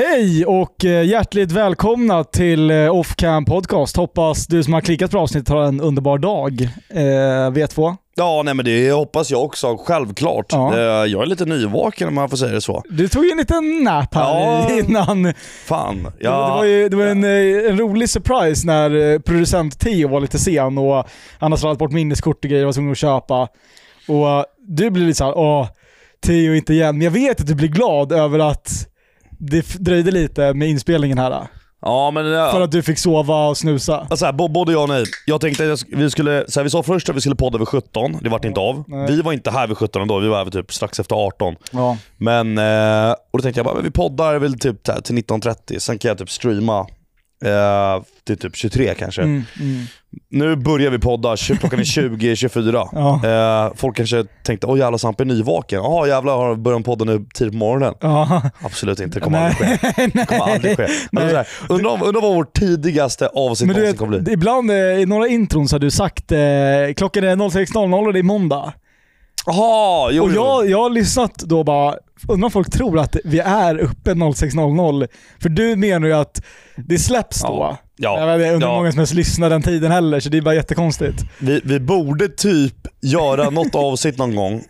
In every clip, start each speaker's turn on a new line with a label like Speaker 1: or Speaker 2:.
Speaker 1: Hej och eh, hjärtligt välkomna till eh, Offcam Podcast. Hoppas du som har klickat på avsnittet har en underbar dag. Eh, V2.
Speaker 2: Ja, nej men det hoppas jag också, självklart.
Speaker 1: Ja.
Speaker 2: Eh, Jag är lite nyvaken om man får säga det så.
Speaker 1: Du tog en liten nap här
Speaker 2: Ja.
Speaker 1: i- innan. Det-
Speaker 2: Fan.
Speaker 1: Det var,
Speaker 2: Ja,
Speaker 1: ju, det var en, eh, en rolig surprise när eh, producent Theo var lite sen och han har slarvat bort minneskort och grejer och var tvungen att köpa. Och eh, du blir lite såhär, åh, Theo inte igen. Men jag vet att du blir glad över att det f- dröjde lite med inspelningen här. eh,
Speaker 2: ja men...
Speaker 1: För
Speaker 2: Ja.
Speaker 1: att du fick sova och snusa.
Speaker 2: Så här, bo- både jag och nej. Jag tänkte att jag sk- vi skulle, så här, vi sa först att vi skulle podda vid 17, det vart inte av.
Speaker 1: Nej.
Speaker 2: Vi var inte här vid 17 ändå, vi var här vid typ strax efter 18.
Speaker 1: Ja.
Speaker 2: Men, eh, och då tänkte jag bara, men vi poddar väl typ så här, till 19.30, sen kan jag typ streama eh, till typ 23 kanske.
Speaker 1: Mm, mm.
Speaker 2: Nu börjar vi podda, tj- klockan är 20, 24.
Speaker 1: Ja.
Speaker 2: Eh, folk kanske tänkte, åh jävlar Sampe är nyvaken. Jaha jävlar, har början podda nu tidigt på morgonen?
Speaker 1: Ja.
Speaker 2: Absolut inte, det kommer aldrig ske. Det kommer aldrig ske. Alltså, så här, undrar, om- undrar vad vårt tidigaste avsnitt
Speaker 1: Men du
Speaker 2: någonsin
Speaker 1: vet,
Speaker 2: kommer bli.
Speaker 1: ibland eh, i några intron så har du sagt eh, klockan är 06.00 och det är måndag.
Speaker 2: Jaha, jo,
Speaker 1: Och
Speaker 2: jo.
Speaker 1: jag, jag har lyssnat då bara, undrar om folk tror att vi är uppe 06.00. För du menar ju att det släpps då. Jag
Speaker 2: Ja,
Speaker 1: vet inte, jag undrar hur
Speaker 2: Ja.
Speaker 1: många som ens lyssnar den tiden heller, så det är bara jättekonstigt.
Speaker 2: vi, vi borde typ göra något avsnitt någon gång.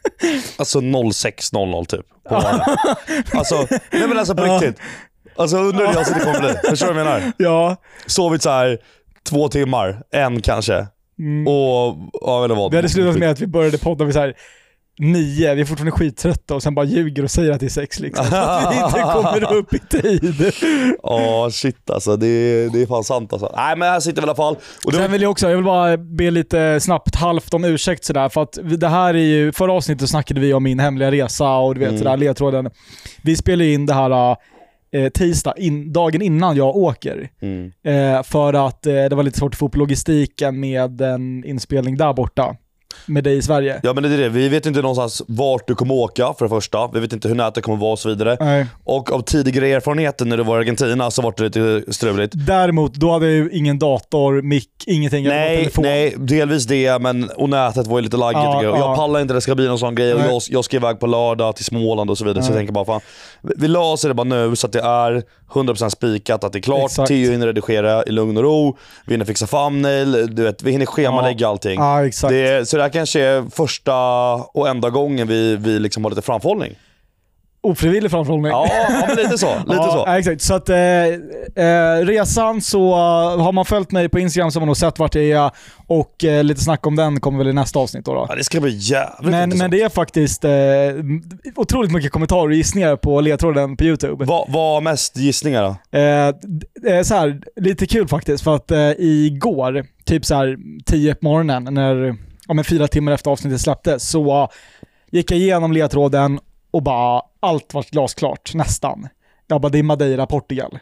Speaker 2: Alltså 06.00 typ. På morgonen. alltså, nej men alltså på
Speaker 1: Ja.
Speaker 2: riktigt. Alltså undrar hur det avsnittet kommer bli. Förstår du vad jag menar?
Speaker 1: Ja.
Speaker 2: Sovit så här två timmar, en kanske.
Speaker 1: Mm.
Speaker 2: Och, ja eller vad.
Speaker 1: Vi hade slutat med att vi började podda vid så här nio, vi är fortfarande skittrötta och sen bara ljuger och säger att det är sex liksom. Så att vi inte kommer upp i tid.
Speaker 2: Ja shit alltså, det, det är fan sant alltså. Nej men här sitter vi i alla fall. Och det var
Speaker 1: Sen vill jag också, jag vill bara be lite snabbt halvt om ursäkt sådär för att vi- det här är ju, förra avsnittet snackade vi om min hemliga resa och du vet
Speaker 2: Mm.
Speaker 1: sådär ledtråden. Vi spelar ju in det här eh, tisdag, in, dagen innan jag åker.
Speaker 2: Mm.
Speaker 1: Eh, för att eh, det var lite svårt att få upp logistiken med en inspelning där borta. Med dig i Sverige.
Speaker 2: Ja men det är det, vi vet inte någonstans vart du kommer åka för det första. Vi vet inte hur nätet kommer vara och så vidare.
Speaker 1: Nej.
Speaker 2: Och av tidigare erfarenheter när du var i Argentina så var det lite struligt.
Speaker 1: Däremot, då hade jag ju ingen dator, mick, ingenting. Jag hade bara
Speaker 2: Nej,
Speaker 1: telefon.
Speaker 2: nej, delvis det, men, och nätet var ju lite laggigt.
Speaker 1: Ja,
Speaker 2: tycker jag.
Speaker 1: ja.
Speaker 2: jag pallar inte det ska bli någon sån grej. Och
Speaker 1: Nej.
Speaker 2: jag, jag ska iväg på lördag till Småland och så vidare. Så jag tänker bara, fan, vi- vi löser det bara nu så att det är 100% spikat, att det är klart.
Speaker 1: Exakt.
Speaker 2: Theo hinner redigera i lugn och ro. Vi hinner fixa thumbnail, du vet, vi hinner schemalägga allting.
Speaker 1: Ja, exakt.
Speaker 2: Det, så det här kanske är första och enda gången vi, vi liksom har lite framförhållning.
Speaker 1: Ofrivillig framförhållning.
Speaker 2: Ja, ja men lite så. Lite
Speaker 1: ja,
Speaker 2: så.
Speaker 1: ja, Exakt. Så att eh, eh, resan så, eh, har man följt mig på Instagram så har man nog sett vart jag är och eh, lite snack om den kommer väl i nästa avsnitt då. då.
Speaker 2: Ja, det ska bli jävligt
Speaker 1: Men,
Speaker 2: intressant.
Speaker 1: men det är faktiskt eh, otroligt mycket kommentarer och gissningar på ledtråden på YouTube.
Speaker 2: Vad vad mest gissningar då?
Speaker 1: Eh, d- eh, så här, lite kul faktiskt för att eh, igår, typ så här 10 på morgonen, när, ja, men fyra timmar efter avsnittet släpptes, så eh, gick jag igenom ledtråden och bara allt var glasklart, nästan. Jag bara, det är Madeira, Portugal.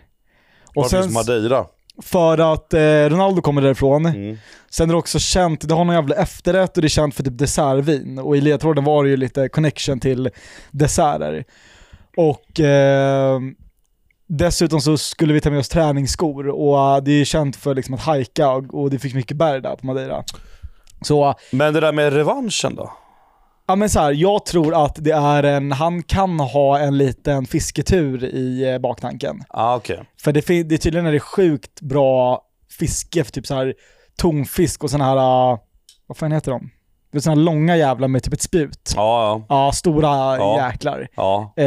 Speaker 1: Och
Speaker 2: Varför
Speaker 1: sen,
Speaker 2: finns Madeira?
Speaker 1: för att eh, Ronaldo kommer därifrån.
Speaker 2: Mm.
Speaker 1: Sen är det också känt, det har någon jävla efterrätt och det är känt för typ dessertvin. Och i ledtråden var det ju lite connection till desserter. Och eh, dessutom så skulle vi ta med oss träningsskor och eh, det är ju känt för liksom att hajka och, och det finns mycket berg där på Madeira. Så, eh,
Speaker 2: Men det där med revanschen då?
Speaker 1: ja men så här, jag tror att det är en, han kan ha en liten fisketur i eh, baktanken.
Speaker 2: Ah, okej.
Speaker 1: För det, fin- det tydligen är det sjukt bra fiske, för typ så här tonfisk och sådana här, äh, vad fan heter de? Det är sådana här långa jävlar med typ ett spjut. Ja,
Speaker 2: Ja, ja.
Speaker 1: stora
Speaker 2: Ja.
Speaker 1: jäklar.
Speaker 2: ja.
Speaker 1: Eh,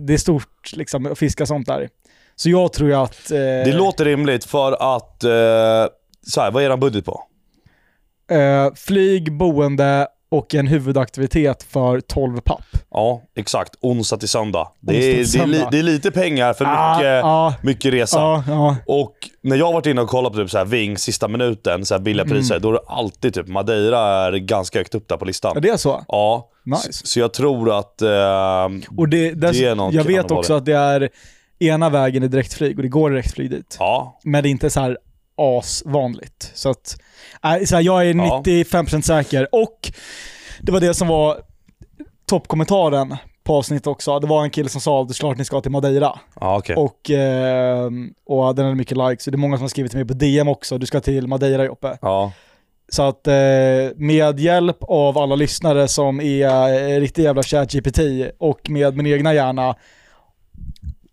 Speaker 1: det är stort liksom att fiska sånt där. Så jag tror ju att... Eh,
Speaker 2: Det låter rimligt för att... Eh, så här, vad är er budget på?
Speaker 1: eh, flyg, boende och en huvudaktivitet för 12 papp.
Speaker 2: Ja, exakt. Onsdag till söndag. Det
Speaker 1: Onsdag till
Speaker 2: är, det är, li,
Speaker 1: söndag.
Speaker 2: det är lite pengar för
Speaker 1: Ah,
Speaker 2: mycket,
Speaker 1: ah,
Speaker 2: mycket resa.
Speaker 1: ja, ja.
Speaker 2: Och när jag har varit inne och kollat på typ så här Ving sista minuten, så här billiga priser, då är det alltid typ Madeira är ganska högt upp där på listan.
Speaker 1: ja, det är så.
Speaker 2: Ja,
Speaker 1: Nice.
Speaker 2: S- så jag tror att... Eh,
Speaker 1: Och det, dess,
Speaker 2: Det är någon-
Speaker 1: jag
Speaker 2: kan
Speaker 1: vet
Speaker 2: det vara
Speaker 1: också
Speaker 2: det.
Speaker 1: att det är ena vägen är direktflyg och det går direktflyg dit.
Speaker 2: ja,
Speaker 1: men det är inte så här asvanligt. Så att, nej, så här, jag är
Speaker 2: Ja.
Speaker 1: 95% säker. Och det var det som var toppkommentaren på avsnittet också. Det var en kille som sa att det är klart ni ska till Madeira.
Speaker 2: ja okej.
Speaker 1: Och, eh, och den hade mycket likes. Det är många som har skrivit till mig på DM också. Du ska till Madeira Joppe.
Speaker 2: Ja.
Speaker 1: Så att eh, med hjälp av alla lyssnare som är eh, riktig jävla ChatGPT och med min egna hjärna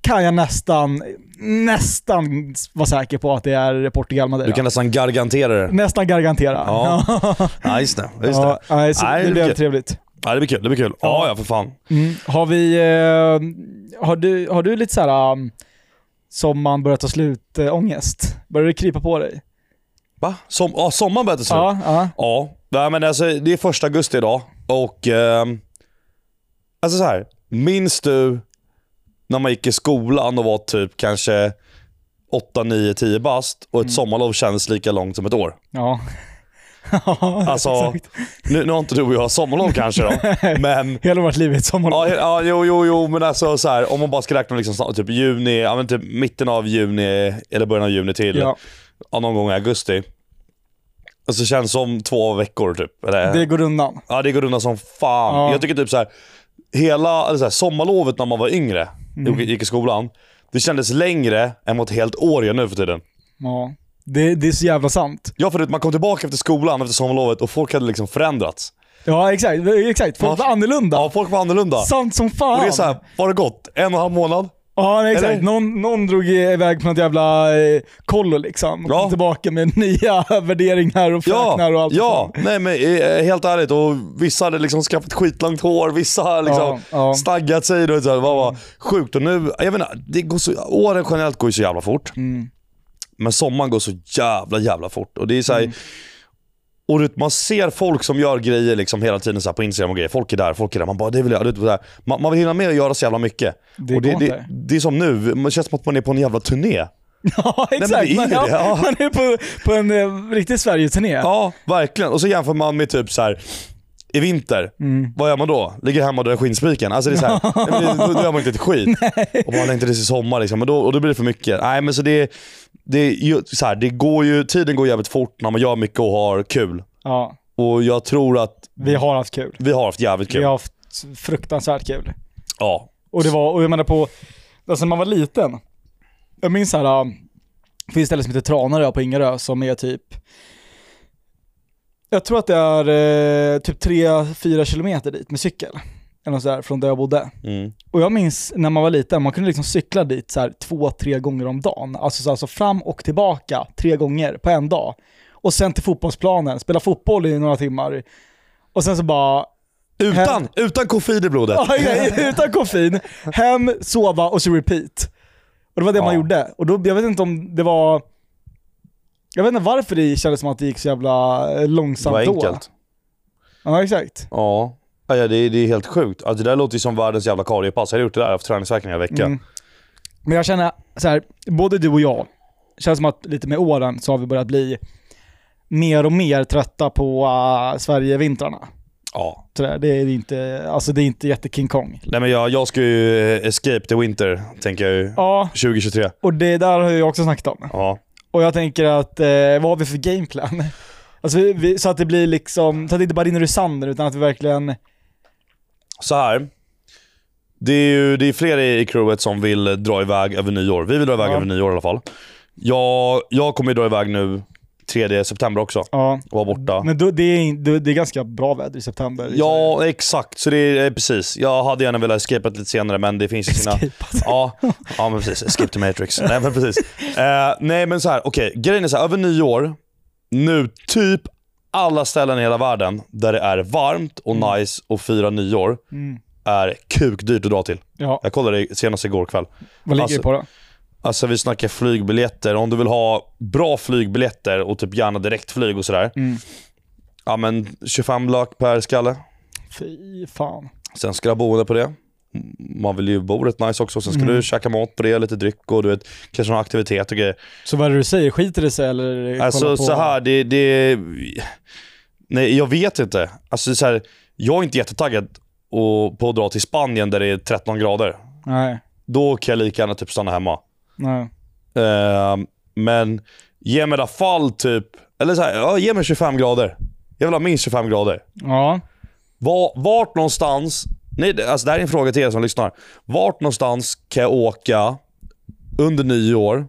Speaker 1: kan jag nästan, nästan vara säker på att det är Portugal Madeira.
Speaker 2: Du kan nästan gargantera det.
Speaker 1: Nästan garantera.
Speaker 2: Ja, Ja, just det. Just det.
Speaker 1: ja, nej, så
Speaker 2: Nej,
Speaker 1: det
Speaker 2: det
Speaker 1: blev
Speaker 2: blir-
Speaker 1: trevligt.
Speaker 2: Ja, det blir kul. Det blir kul. Ja, ja för fan.
Speaker 1: Mm. Har vi, eh, har du, har du lite så här um, som man börjar ta slut eh, ångest? Börjar det krypa på dig?
Speaker 2: Va? Som, ja, sommaren börjar ta slut.
Speaker 1: Ja, ja.
Speaker 2: Ja, nej, men alltså, det är första augusti idag och... ehm, alltså så här. Minns du när man gick i skolan och var typ kanske 8, 9, 10 bast
Speaker 1: Mm.
Speaker 2: och ett sommarlov kändes lika långt som ett år?
Speaker 1: Ja. ja
Speaker 2: Alltså-
Speaker 1: exakt.
Speaker 2: Nu, nu har inte du och jag sommarlov kanske då, men...
Speaker 1: Hela vårt liv är ett sommarlov.
Speaker 2: Ja, he- ja, jo, jo, jo, men alltså så här, om man bara ska räkna liksom, snart- typ juni, ja, men typ mitten av juni eller början av juni till
Speaker 1: Ja,
Speaker 2: ja, någon gång i augusti. Alltså känns som två veckor typ. Eller,
Speaker 1: det går undan.
Speaker 2: Ja, det går undan som fan.
Speaker 1: Ja.
Speaker 2: Jag tycker typ så här, hela eller så här, sommarlovet när man var yngre,
Speaker 1: Mm.
Speaker 2: gick, gick i skolan, det kändes längre än vad ett helt år gör nu för tiden.
Speaker 1: Ja. Det, det är så jävla sant.
Speaker 2: Ja, förut man kom tillbaka efter skolan, efter sommarlovet och folk hade liksom förändrats.
Speaker 1: Ja, exakt. exakt. Folk
Speaker 2: Ja.
Speaker 1: var annorlunda.
Speaker 2: Ja, folk var annorlunda.
Speaker 1: Sant som fan.
Speaker 2: Och det är så här, var det gott? En och en halv månad?
Speaker 1: Ja, nej,
Speaker 2: Eller?
Speaker 1: exakt. Någon, någon drog iväg på något jävla eh, kollo liksom. Och
Speaker 2: Ja.
Speaker 1: kom tillbaka med nya värderingar och
Speaker 2: Ja,
Speaker 1: fräknar och allt
Speaker 2: ja.
Speaker 1: sånt.
Speaker 2: Nej, men eh, helt ärligt. Och vissa hade liksom skaffat skitlångt hår, vissa har liksom
Speaker 1: Ja, ja.
Speaker 2: staggat sig. Och så här, vad var sjukt. Och nu, jag vet inte, det går så, åren generellt går ju så jävla fort.
Speaker 1: Mm.
Speaker 2: Men sommaren går så jävla jävla fort. Och det är så här, och du vet, man ser folk som gör grejer liksom hela tiden så här på Instagram och grejer. Folk är där, folk är där. Man bara, det vill jag. Du vet, så här, man, man vill hinna med att göra så jävla mycket.
Speaker 1: Det
Speaker 2: och
Speaker 1: går
Speaker 2: det,
Speaker 1: inte.
Speaker 2: det, det är som nu, man känns som att man är på en jävla turné.
Speaker 1: Ja,
Speaker 2: men
Speaker 1: exakt.
Speaker 2: det är
Speaker 1: man,
Speaker 2: ju det, ja.
Speaker 1: man är på, på en eh, riktig Sverige-turné.
Speaker 2: Ja, verkligen. Och så jämför man med typ så här i vinter,
Speaker 1: Mm.
Speaker 2: vad gör man då? Ligger hemma och drar skinnspiken. Alltså det är så här, nej, men det- då, då gör man inte ett skit. Och man längtar till sin sommar liksom. Men då, och då blir det för mycket. Nej men så det, det, är ju, så här, det går ju, tiden går jävligt fort när man gör mycket och har kul.
Speaker 1: Ja,
Speaker 2: Och jag tror att
Speaker 1: vi har haft kul.
Speaker 2: vi har haft jävligt kul.
Speaker 1: Vi har haft fruktansvärt kul.
Speaker 2: Ja.
Speaker 1: Och det var, och jag menar på, alltså när man var liten, jag minns så här, äh, det finns ett ställe som heter Tranarö på Ingarö som är typ, jag tror att det är eh, typ 3-4 kilometer dit med cykel. Eller något sådär, från där jag bodde.
Speaker 2: Mm.
Speaker 1: Och jag minns när man var liten, man kunde liksom cykla dit så här två, tre gånger om dagen. Alltså, så alltså fram och tillbaka tre gånger på en dag. Och sen till fotbollsplanen, spela fotboll i några timmar. Och sen så bara
Speaker 2: Utan, utan koffein i blodet.
Speaker 1: Ja, exakt. utan koffein. Hem, sova och så repeat. Och det var det man
Speaker 2: Ja.
Speaker 1: gjorde. Och då, jag vet inte om det var... Jag vet inte varför det kändes som att det gick så jävla eh,
Speaker 2: Det var
Speaker 1: långsamt då.
Speaker 2: enkelt.
Speaker 1: Ja, exakt.
Speaker 2: Ja. Ja, ja, det, är- det är helt sjukt. Alltså, det där låter ju som världens jävla kariepass. Jag hade gjort det där, jag har haft träningsvärk i en vecka.
Speaker 1: Mm. Men jag känner så här, både du och jag, känns som att lite med åren så har vi börjat bli mer och mer trötta på uh, Sverige-vintrarna.
Speaker 2: Ja.
Speaker 1: Så där, Det är inte, alltså det är inte jätte-King Kong.
Speaker 2: Nej men jag, jag ska ju eh, escape the winter, tänker jag ju.
Speaker 1: Ja,
Speaker 2: 2023.
Speaker 1: och det där har jag också snackat om.
Speaker 2: Ja.
Speaker 1: Och jag tänker att, eh, vad har vi för gameplan? Alltså vi, vi, så att det blir liksom, så att det inte bara rinner ur sanden utan att vi verkligen...
Speaker 2: Så här. Det är ju det är fler i, i crewet som vill eh, dra iväg över nyår. Vi vill dra iväg
Speaker 1: Ja.
Speaker 2: över nyår i alla fall. Jag, jag kommer ju dra iväg nu 3 september också
Speaker 1: Ja.
Speaker 2: och vara borta.
Speaker 1: Men då, det, är, in- då, det är ganska bra väder i september.
Speaker 2: Ja, exakt. Så det är eh, precis. Jag hade gärna velat escapea lite senare, men det finns ju sina... Ja, ja, men precis. Escape to Matrix. Nej, men precis. Eh, nej, men så här. Okej, grejen är så här. Över nyår, nu typ alla ställen i hela världen där det är varmt och nice och fira nyår
Speaker 1: Mm.
Speaker 2: är kukdyrt att dra till.
Speaker 1: Ja,
Speaker 2: Jag kollade det senast igår kväll.
Speaker 1: vad ligger
Speaker 2: Alltså-
Speaker 1: det på då?
Speaker 2: Alltså vi snackar flygbiljetter. Om du vill ha bra flygbiljetter och typ gärna direktflyg och sådär.
Speaker 1: Mm.
Speaker 2: Ja men 25 lök per skalle.
Speaker 1: Fy fan.
Speaker 2: Sen ska du ha boende på det. Man vill ju bo rätt nice också. Sen ska
Speaker 1: Mm.
Speaker 2: du käka mat på det, lite dryck och du vet, kanske någon aktivitet och grejer.
Speaker 1: Så vad är det du säger, skiter det sig eller?
Speaker 2: Alltså
Speaker 1: kollar på...
Speaker 2: så här, det, det... Nej, jag vet inte. Alltså så här, jag är inte jättetaggad och- på att dra till Spanien där det är 13 grader.
Speaker 1: Nej,
Speaker 2: Då kan jag lika gärna typ stanna hemma.
Speaker 1: nej.
Speaker 2: Ehm, men ge mig i alla fall typ... Eller så här, ja, ge mig 25 grader. Jag vill ha minst 25 grader.
Speaker 1: Ja,
Speaker 2: Var, vart någonstans, nej, det- alltså det här är en fråga till er som lyssnar. Vart någonstans kan jag åka under nyår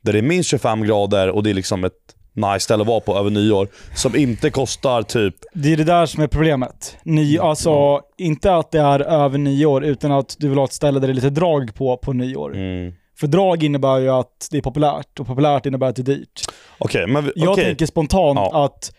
Speaker 2: där det är minst 25 grader och det är liksom ett nice ställe att vara på över nyår. Som inte kostar typ...
Speaker 1: Det är det där som är problemet. Ny,
Speaker 2: Mm.
Speaker 1: alltså, inte att det är över nyår, utan att du vill ha ett ställe där det är lite drag på, på nyår.
Speaker 2: Mm.
Speaker 1: För drag innebär ju att det är populärt, och populärt innebär att det är dyrt.
Speaker 2: Okej, men vi-
Speaker 1: Jag
Speaker 2: okej.
Speaker 1: tänker spontant
Speaker 2: Ja.
Speaker 1: att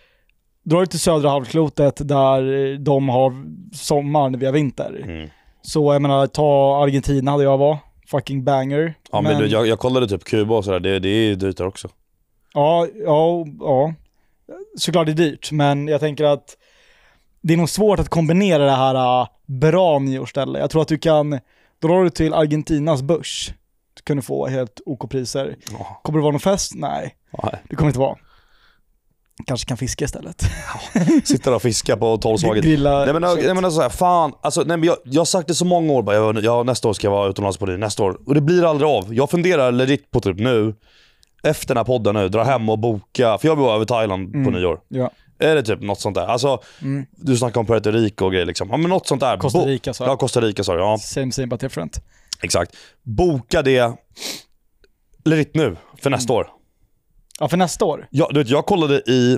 Speaker 1: drar du till södra halvklotet där de har sommar när vi har vinter.
Speaker 2: Mm.
Speaker 1: Så jag menar, ta Argentina hade jag var. Fucking banger.
Speaker 2: Ja, men, Du, jag, jag kollade typ Kuba och sådär, det, det är ju dyrt där också.
Speaker 1: Ja, ja, ja. Såklart det är dyrt, men jag tänker att det är nog svårt att kombinera det här äh, bra nyårsställe. Jag tror att du kan, drar du till Argentinas börs, du kunde få helt OK priser.
Speaker 2: Ja.
Speaker 1: Kommer det vara någon fest? Nej,
Speaker 2: Nej.
Speaker 1: det kommer inte vara. Kanske kan fiska istället.
Speaker 2: Sitter och fiskar på tolvslaget.
Speaker 1: Grilla
Speaker 2: Nej men, jag,
Speaker 1: kött.
Speaker 2: nej, men alltså, så här, fan. Alltså, nej, men jag, jag har sagt det så många år. Bara, jag, jag, nästa år ska jag vara utomlands på det. Nästa år. Och det blir aldrig av. Jag funderar legit på typ nu, efter den här podden nu, dra hem och boka. För jag vill vara över Thailand
Speaker 1: Mm.
Speaker 2: på nyår.
Speaker 1: Ja.
Speaker 2: Eller typ något sånt där. Alltså,
Speaker 1: Mm.
Speaker 2: du snackar om Puerto Rico och grejer liksom. Ja men något sånt där.
Speaker 1: Costa
Speaker 2: Bo-
Speaker 1: Rica så.
Speaker 2: Ja, Costa Rica sa du. Ja,
Speaker 1: Same same but different.
Speaker 2: exakt. Boka det legit nu, för
Speaker 1: Mm.
Speaker 2: nästa år.
Speaker 1: Ja, för nästa år.
Speaker 2: Jag, du vet, jag kollade i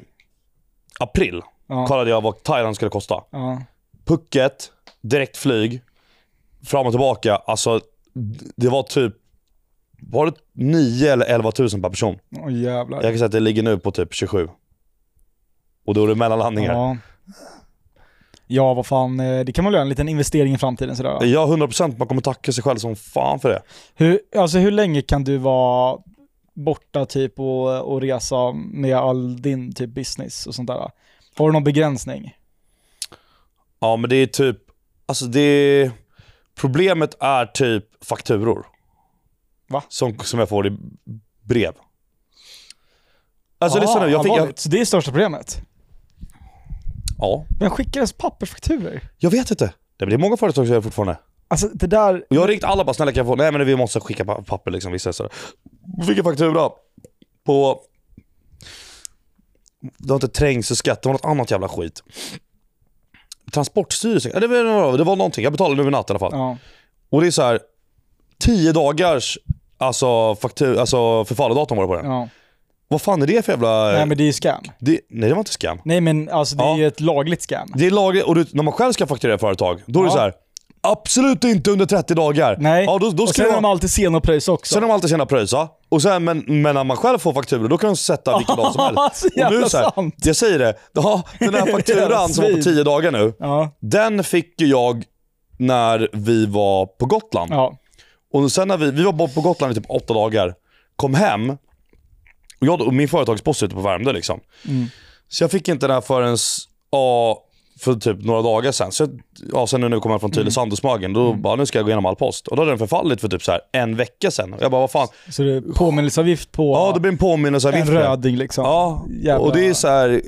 Speaker 2: april.
Speaker 1: Ja.
Speaker 2: Kollade jag vad Thailand skulle kosta.
Speaker 1: Ja.
Speaker 2: Pucket, direktflyg, fram och tillbaka. Alltså, det var typ var det 9 eller 11 000 per person.
Speaker 1: Åh jävlar.
Speaker 2: Jag kan säga att det ligger nu på typ 27. Och då är det mellanlandningar.
Speaker 1: Ja. ja, vad fan. eh, Det kan man väl göra en liten investering i framtiden sådär. va?
Speaker 2: Ja, 100% man kommer tacka sig själv som fan för det.
Speaker 1: Hur, alltså hur länge kan du vara borta typ och, och resa med all din typ business och sånt där? Har du någon begränsning?
Speaker 2: Ja, men det är typ... Alltså det... Problemet är typ fakturor.
Speaker 1: Va?
Speaker 2: Som, som jag får i brev. Alltså
Speaker 1: Ah,
Speaker 2: lyssna nu, jag fick... Jag,
Speaker 1: allvarligt. Så det är största problemet?
Speaker 2: ja,
Speaker 1: Vem skickar ens pappersfakturor?
Speaker 2: jag vet inte. Det är många företag som gör det fortfarande.
Speaker 1: Alltså det där,
Speaker 2: Och jag har ringt alla bara, snälla kan jag få, nej men vi måste skicka pa- papper liksom, vissa så Fick en faktura på, det var inte trängselskatt, det var något annat jävla skit. Transportstyrelsen, ja, det var, det var någonting, jag betalade nu i natt i alla fall.
Speaker 1: ja.
Speaker 2: Och det är så här, 10 dagars alltså, faktur, alltså förfallodatum var det på den.
Speaker 1: ja.
Speaker 2: Vad fan är det för jävla...
Speaker 1: Nej men det är ju scam.
Speaker 2: det, nej det var inte scam.
Speaker 1: Nej men alltså det är
Speaker 2: Ja.
Speaker 1: ju ett lagligt scam.
Speaker 2: Det är lagligt, och du, när man själv ska fakturera företag, då är det
Speaker 1: Ja.
Speaker 2: så här, absolut inte under 30 dagar.
Speaker 1: Nej,
Speaker 2: Ja, då, då
Speaker 1: och
Speaker 2: ska
Speaker 1: sen
Speaker 2: det
Speaker 1: är
Speaker 2: vara-
Speaker 1: de alltid sena att pröjsa också.
Speaker 2: Sen har de alltid sina pröjsa. Och sen, men, men när man själv får fakturor, då kan de sätta vilken dag som helst.
Speaker 1: så jävla
Speaker 2: och nu, så här,
Speaker 1: sant.
Speaker 2: Jag säger det, ja, den här
Speaker 1: Jävla
Speaker 2: fakturan som var på
Speaker 1: svin.
Speaker 2: 10 dagar nu,
Speaker 1: Ja,
Speaker 2: den fick ju jag när vi var på Gotland.
Speaker 1: ja.
Speaker 2: Och sen när vi, vi var bort på Gotland i typ 8 dagar, kom hem, och, jag, och min företagsboss är ute på Värmdö liksom.
Speaker 1: Mm.
Speaker 2: Så jag fick inte den här förrän ja, för typ några dagar sen. Så jag, ja, sen när jag kom jag från
Speaker 1: Mm.
Speaker 2: Tylösand och Smögen, då bara nu ska jag gå igenom all post. Och då hade den förfallit för typ så här en vecka sen. Och jag bara, vad fan.
Speaker 1: Så det är påminnelseavgift på
Speaker 2: Ja, det blir en påminnelse.
Speaker 1: en röding liksom.
Speaker 2: Ja,
Speaker 1: Jävla-
Speaker 2: och det är så här.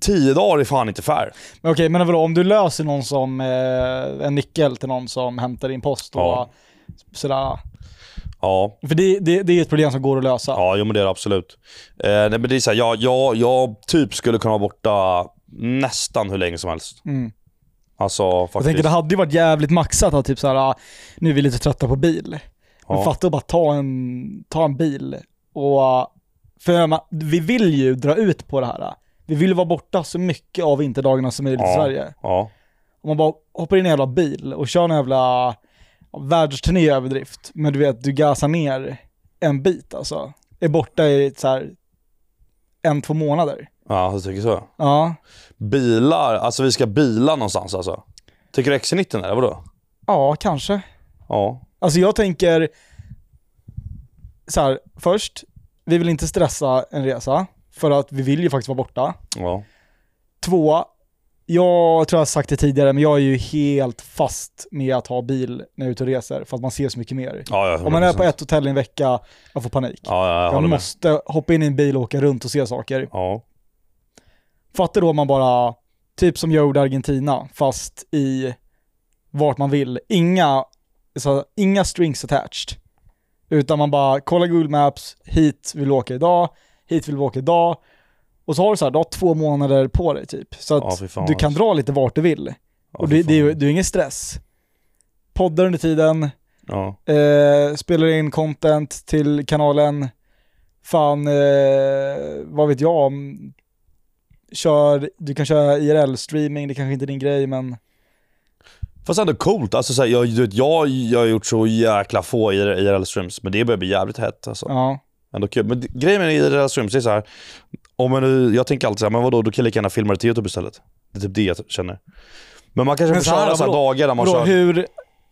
Speaker 2: Tio dagar är fan inte fair.
Speaker 1: Men Okej, men vadå, om du löser någon som, eh, en nyckel till någon som hämtar din post och
Speaker 2: Ja.
Speaker 1: sådär.
Speaker 2: Ja,
Speaker 1: För det, det, det är ett problem som går att lösa.
Speaker 2: ja jo, men det är det absolut. Eh, nej, men det är så här, jag, jag, jag typ skulle kunna vara borta nästan hur länge som helst.
Speaker 1: Mm.
Speaker 2: Alltså
Speaker 1: Jag
Speaker 2: faktiskt.
Speaker 1: tänker det hade ju varit jävligt maxat att typ såhär, ah, nu är vi lite trötta på bil. Men
Speaker 2: ja.
Speaker 1: fatta att bara ta en, ta en bil och, ah, för jag menar, vi vill ju dra ut på det här. ah. Vi vill ju vara borta så mycket av vinterdagarna som möjligt i
Speaker 2: Ja.
Speaker 1: Sverige.
Speaker 2: ja.
Speaker 1: Om man bara hoppar in i en jävla bil och kör en jävla ja, världsturné i överdrift, men du vet, du gasar ner en bit alltså. Är borta i så här en, två månader.
Speaker 2: ja, jag tycker så.
Speaker 1: Ja.
Speaker 2: Bilar, alltså vi ska bila någonstans alltså. Tycker du XC90 är det? Vadå?
Speaker 1: Ja, kanske.
Speaker 2: Ja.
Speaker 1: Alltså jag tänker så här, först, vi vill inte stressa en resa, för att vi vill ju faktiskt vara borta.
Speaker 2: ja.
Speaker 1: Två, jag tror jag har sagt det tidigare, men jag är ju helt fast med att ha bil när jag är ute och reser, för att man ser så mycket mer.
Speaker 2: Ja, ja,
Speaker 1: Om man är på
Speaker 2: 100%.
Speaker 1: ett hotell i en vecka, jag får panik.
Speaker 2: Ja, ja, jag
Speaker 1: Jag
Speaker 2: håller med.
Speaker 1: måste hoppa in i en bil och åka runt och se saker.
Speaker 2: Ja.
Speaker 1: Fattar då om man bara, typ som jag gjorde i Argentina, fast i vart man vill. Inga, så, här, inga strings attached. Utan man bara kollar Google Maps, hit vill vi åka idag, hit vill vi åka idag. Och så har du så här, du har två månader på dig typ. Så
Speaker 2: Ja,
Speaker 1: att
Speaker 2: fy fan,
Speaker 1: du kan
Speaker 2: alltså.
Speaker 1: dra lite vart du vill.
Speaker 2: Ja,
Speaker 1: och
Speaker 2: fy
Speaker 1: det, det, är, ju-
Speaker 2: fan.
Speaker 1: det är ju ingen stress. Poddar under tiden,
Speaker 2: Ja.
Speaker 1: eh, spelar in content till kanalen, fan, eh, vad vet jag, om- kör, du kan köra IRL-streaming, det kanske inte är din grej men
Speaker 2: Fast ändå coolt. Alltså, så här, jag, du vet, jag, jag har gjort så jäkla få IRL-streams, men det börjar bli jävligt hett. Alltså.
Speaker 1: ja.
Speaker 2: Ändå kul. Men d- grejen med IRL-streams det är så här. Om man, nu- jag tänker alltid så här, men vadå, du kan jag lika gärna filma det till YouTube istället. Det är typ det jag känner. Men man kanske
Speaker 1: Men
Speaker 2: får
Speaker 1: så här,
Speaker 2: köra så här
Speaker 1: vadå?
Speaker 2: dagar där man
Speaker 1: Bro,
Speaker 2: kör...
Speaker 1: hur,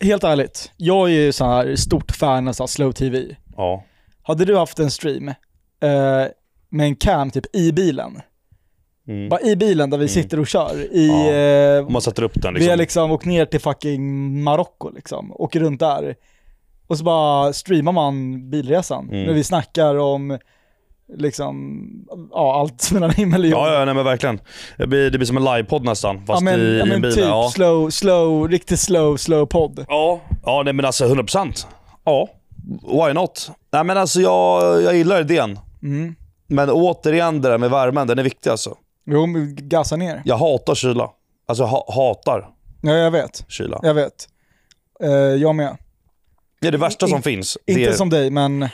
Speaker 1: helt ärligt, jag är ju så här stort fan av så här slow tv.
Speaker 2: Ja.
Speaker 1: Hade du haft en stream eh, med en cam typ i bilen,
Speaker 2: Mm.
Speaker 1: bara i bilen där vi sitter och kör, i,
Speaker 2: Ja.
Speaker 1: eh,
Speaker 2: Om man sätter upp den
Speaker 1: vi har
Speaker 2: liksom.
Speaker 1: liksom åkt ner till fucking Marocko liksom, åker runt där. Och så bara streamar man bilresan,
Speaker 2: Mm.
Speaker 1: när vi snackar om liksom, ja allt mellan himmel och jord.
Speaker 2: Ja, ja, nej men verkligen. Det blir, det blir som en livepodd nästan, fast
Speaker 1: Ja, men,
Speaker 2: i,
Speaker 1: ja,
Speaker 2: i en
Speaker 1: men
Speaker 2: bil.
Speaker 1: typ
Speaker 2: ja.
Speaker 1: slow, slow, riktigt slow, slow podd.
Speaker 2: Ja. ja, nej men alltså 100%. Ja, why not? Nej men alltså jag, jag gillar idén.
Speaker 1: Mm.
Speaker 2: Men återigen det där med värmen, den är viktig alltså.
Speaker 1: Jo, men gasa ner.
Speaker 2: Jag hatar kyla. Alltså jag ha, hatar
Speaker 1: Ja, jag vet.
Speaker 2: kyla.
Speaker 1: Jag vet. Eh, jag med.
Speaker 2: Det är det värsta
Speaker 1: In-
Speaker 2: som finns. det är,
Speaker 1: Inte som dig, men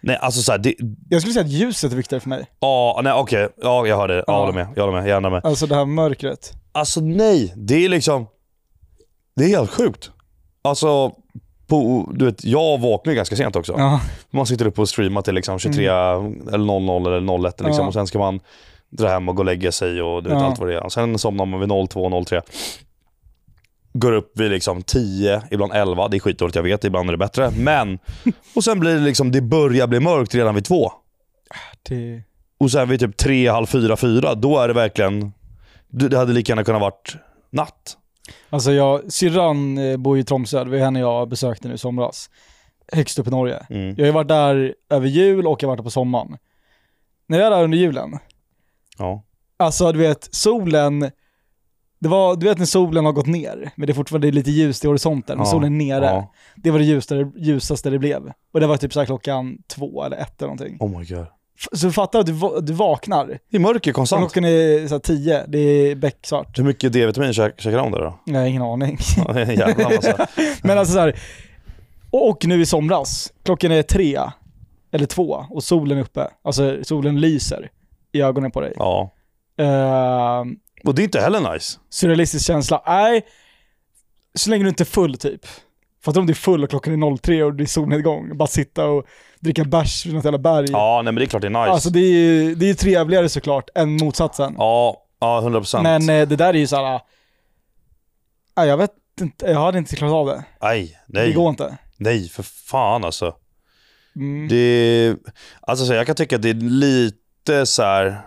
Speaker 2: Nej alltså såhär, det...
Speaker 1: jag skulle säga att ljuset är viktigare för mig.
Speaker 2: Ja, nej okej. Ja, jag hör det. Ja,
Speaker 1: Ja.
Speaker 2: Jag håller med. Jag håller med. Jag ändrar mig.
Speaker 1: Alltså det här mörkret.
Speaker 2: Alltså nej, det är liksom... Det är helt sjukt. Alltså, på, du vet, jag vaknar ju ganska sent också.
Speaker 1: Ja.
Speaker 2: Man sitter upp och streamar till liksom 23 eller 00 eller 01 liksom,
Speaker 1: Mm. Ja.
Speaker 2: och sen ska man dra hem och gå och lägga sig och du vet
Speaker 1: Ja.
Speaker 2: allt vad det är. Och sen somnar man vid 02, 03. Går upp vid liksom 10, ibland 11. Det är skitdåligt jag vet, ibland är det bättre. Men, och sen blir det liksom, det börjar bli mörkt redan vid två.
Speaker 1: Det...
Speaker 2: Och sen vid typ tre, halv fyra, fyra, då är det verkligen... du- Det hade lika gärna kunnat varit natt.
Speaker 1: Alltså jag, syrran eh, bor ju i Tromsö, det var henne jag besökte nu i somras. Högst upp i Norge.
Speaker 2: Mm.
Speaker 1: Jag har ju varit där över jul och jag har varit där på sommaren. När jag är där under julen,
Speaker 2: Ja.
Speaker 1: alltså du vet solen, det var, du vet när solen har gått ner, men det är fortfarande lite ljust i horisonten, men
Speaker 2: Ja,
Speaker 1: solen är nere.
Speaker 2: ja.
Speaker 1: Det var det ljusaste, ljusaste det blev. Och det var typ så här klockan två eller ett eller någonting.
Speaker 2: Oh my god.
Speaker 1: F- Så fattar att du, va- du vaknar,
Speaker 2: Det är mörker konstant.
Speaker 1: klockan är så här tio, det är becksvart.
Speaker 2: Hur mycket D-vitamin käk- käkar de där då?
Speaker 1: Jag har ingen aning.
Speaker 2: Ja, det är en jävla massa.
Speaker 1: Men alltså så här, och och nu i somras, klockan är tre eller två och solen är uppe. Alltså solen lyser i ögonen på dig.
Speaker 2: Ja.
Speaker 1: Eh,
Speaker 2: Och det är inte heller nice.
Speaker 1: surrealistisk känsla. Nej, så länge du inte är full typ. Fattar om du är full och klockan är 03 och det är solnedgång. Bara sitta och dricka bärs vid något jävla berg.
Speaker 2: Ja, nej men det är klart det är nice.
Speaker 1: Alltså det är ju det är ju trevligare såklart än motsatsen.
Speaker 2: Ja, ja 100 procent.
Speaker 1: Men eh, det där är ju såhär, nej jag vet inte, jag hade inte klarat av det.
Speaker 2: Nej,
Speaker 1: Det
Speaker 2: nej,
Speaker 1: går inte.
Speaker 2: nej för fan alltså.
Speaker 1: Mm.
Speaker 2: Det, alltså så här, jag kan tycka att det är lite så här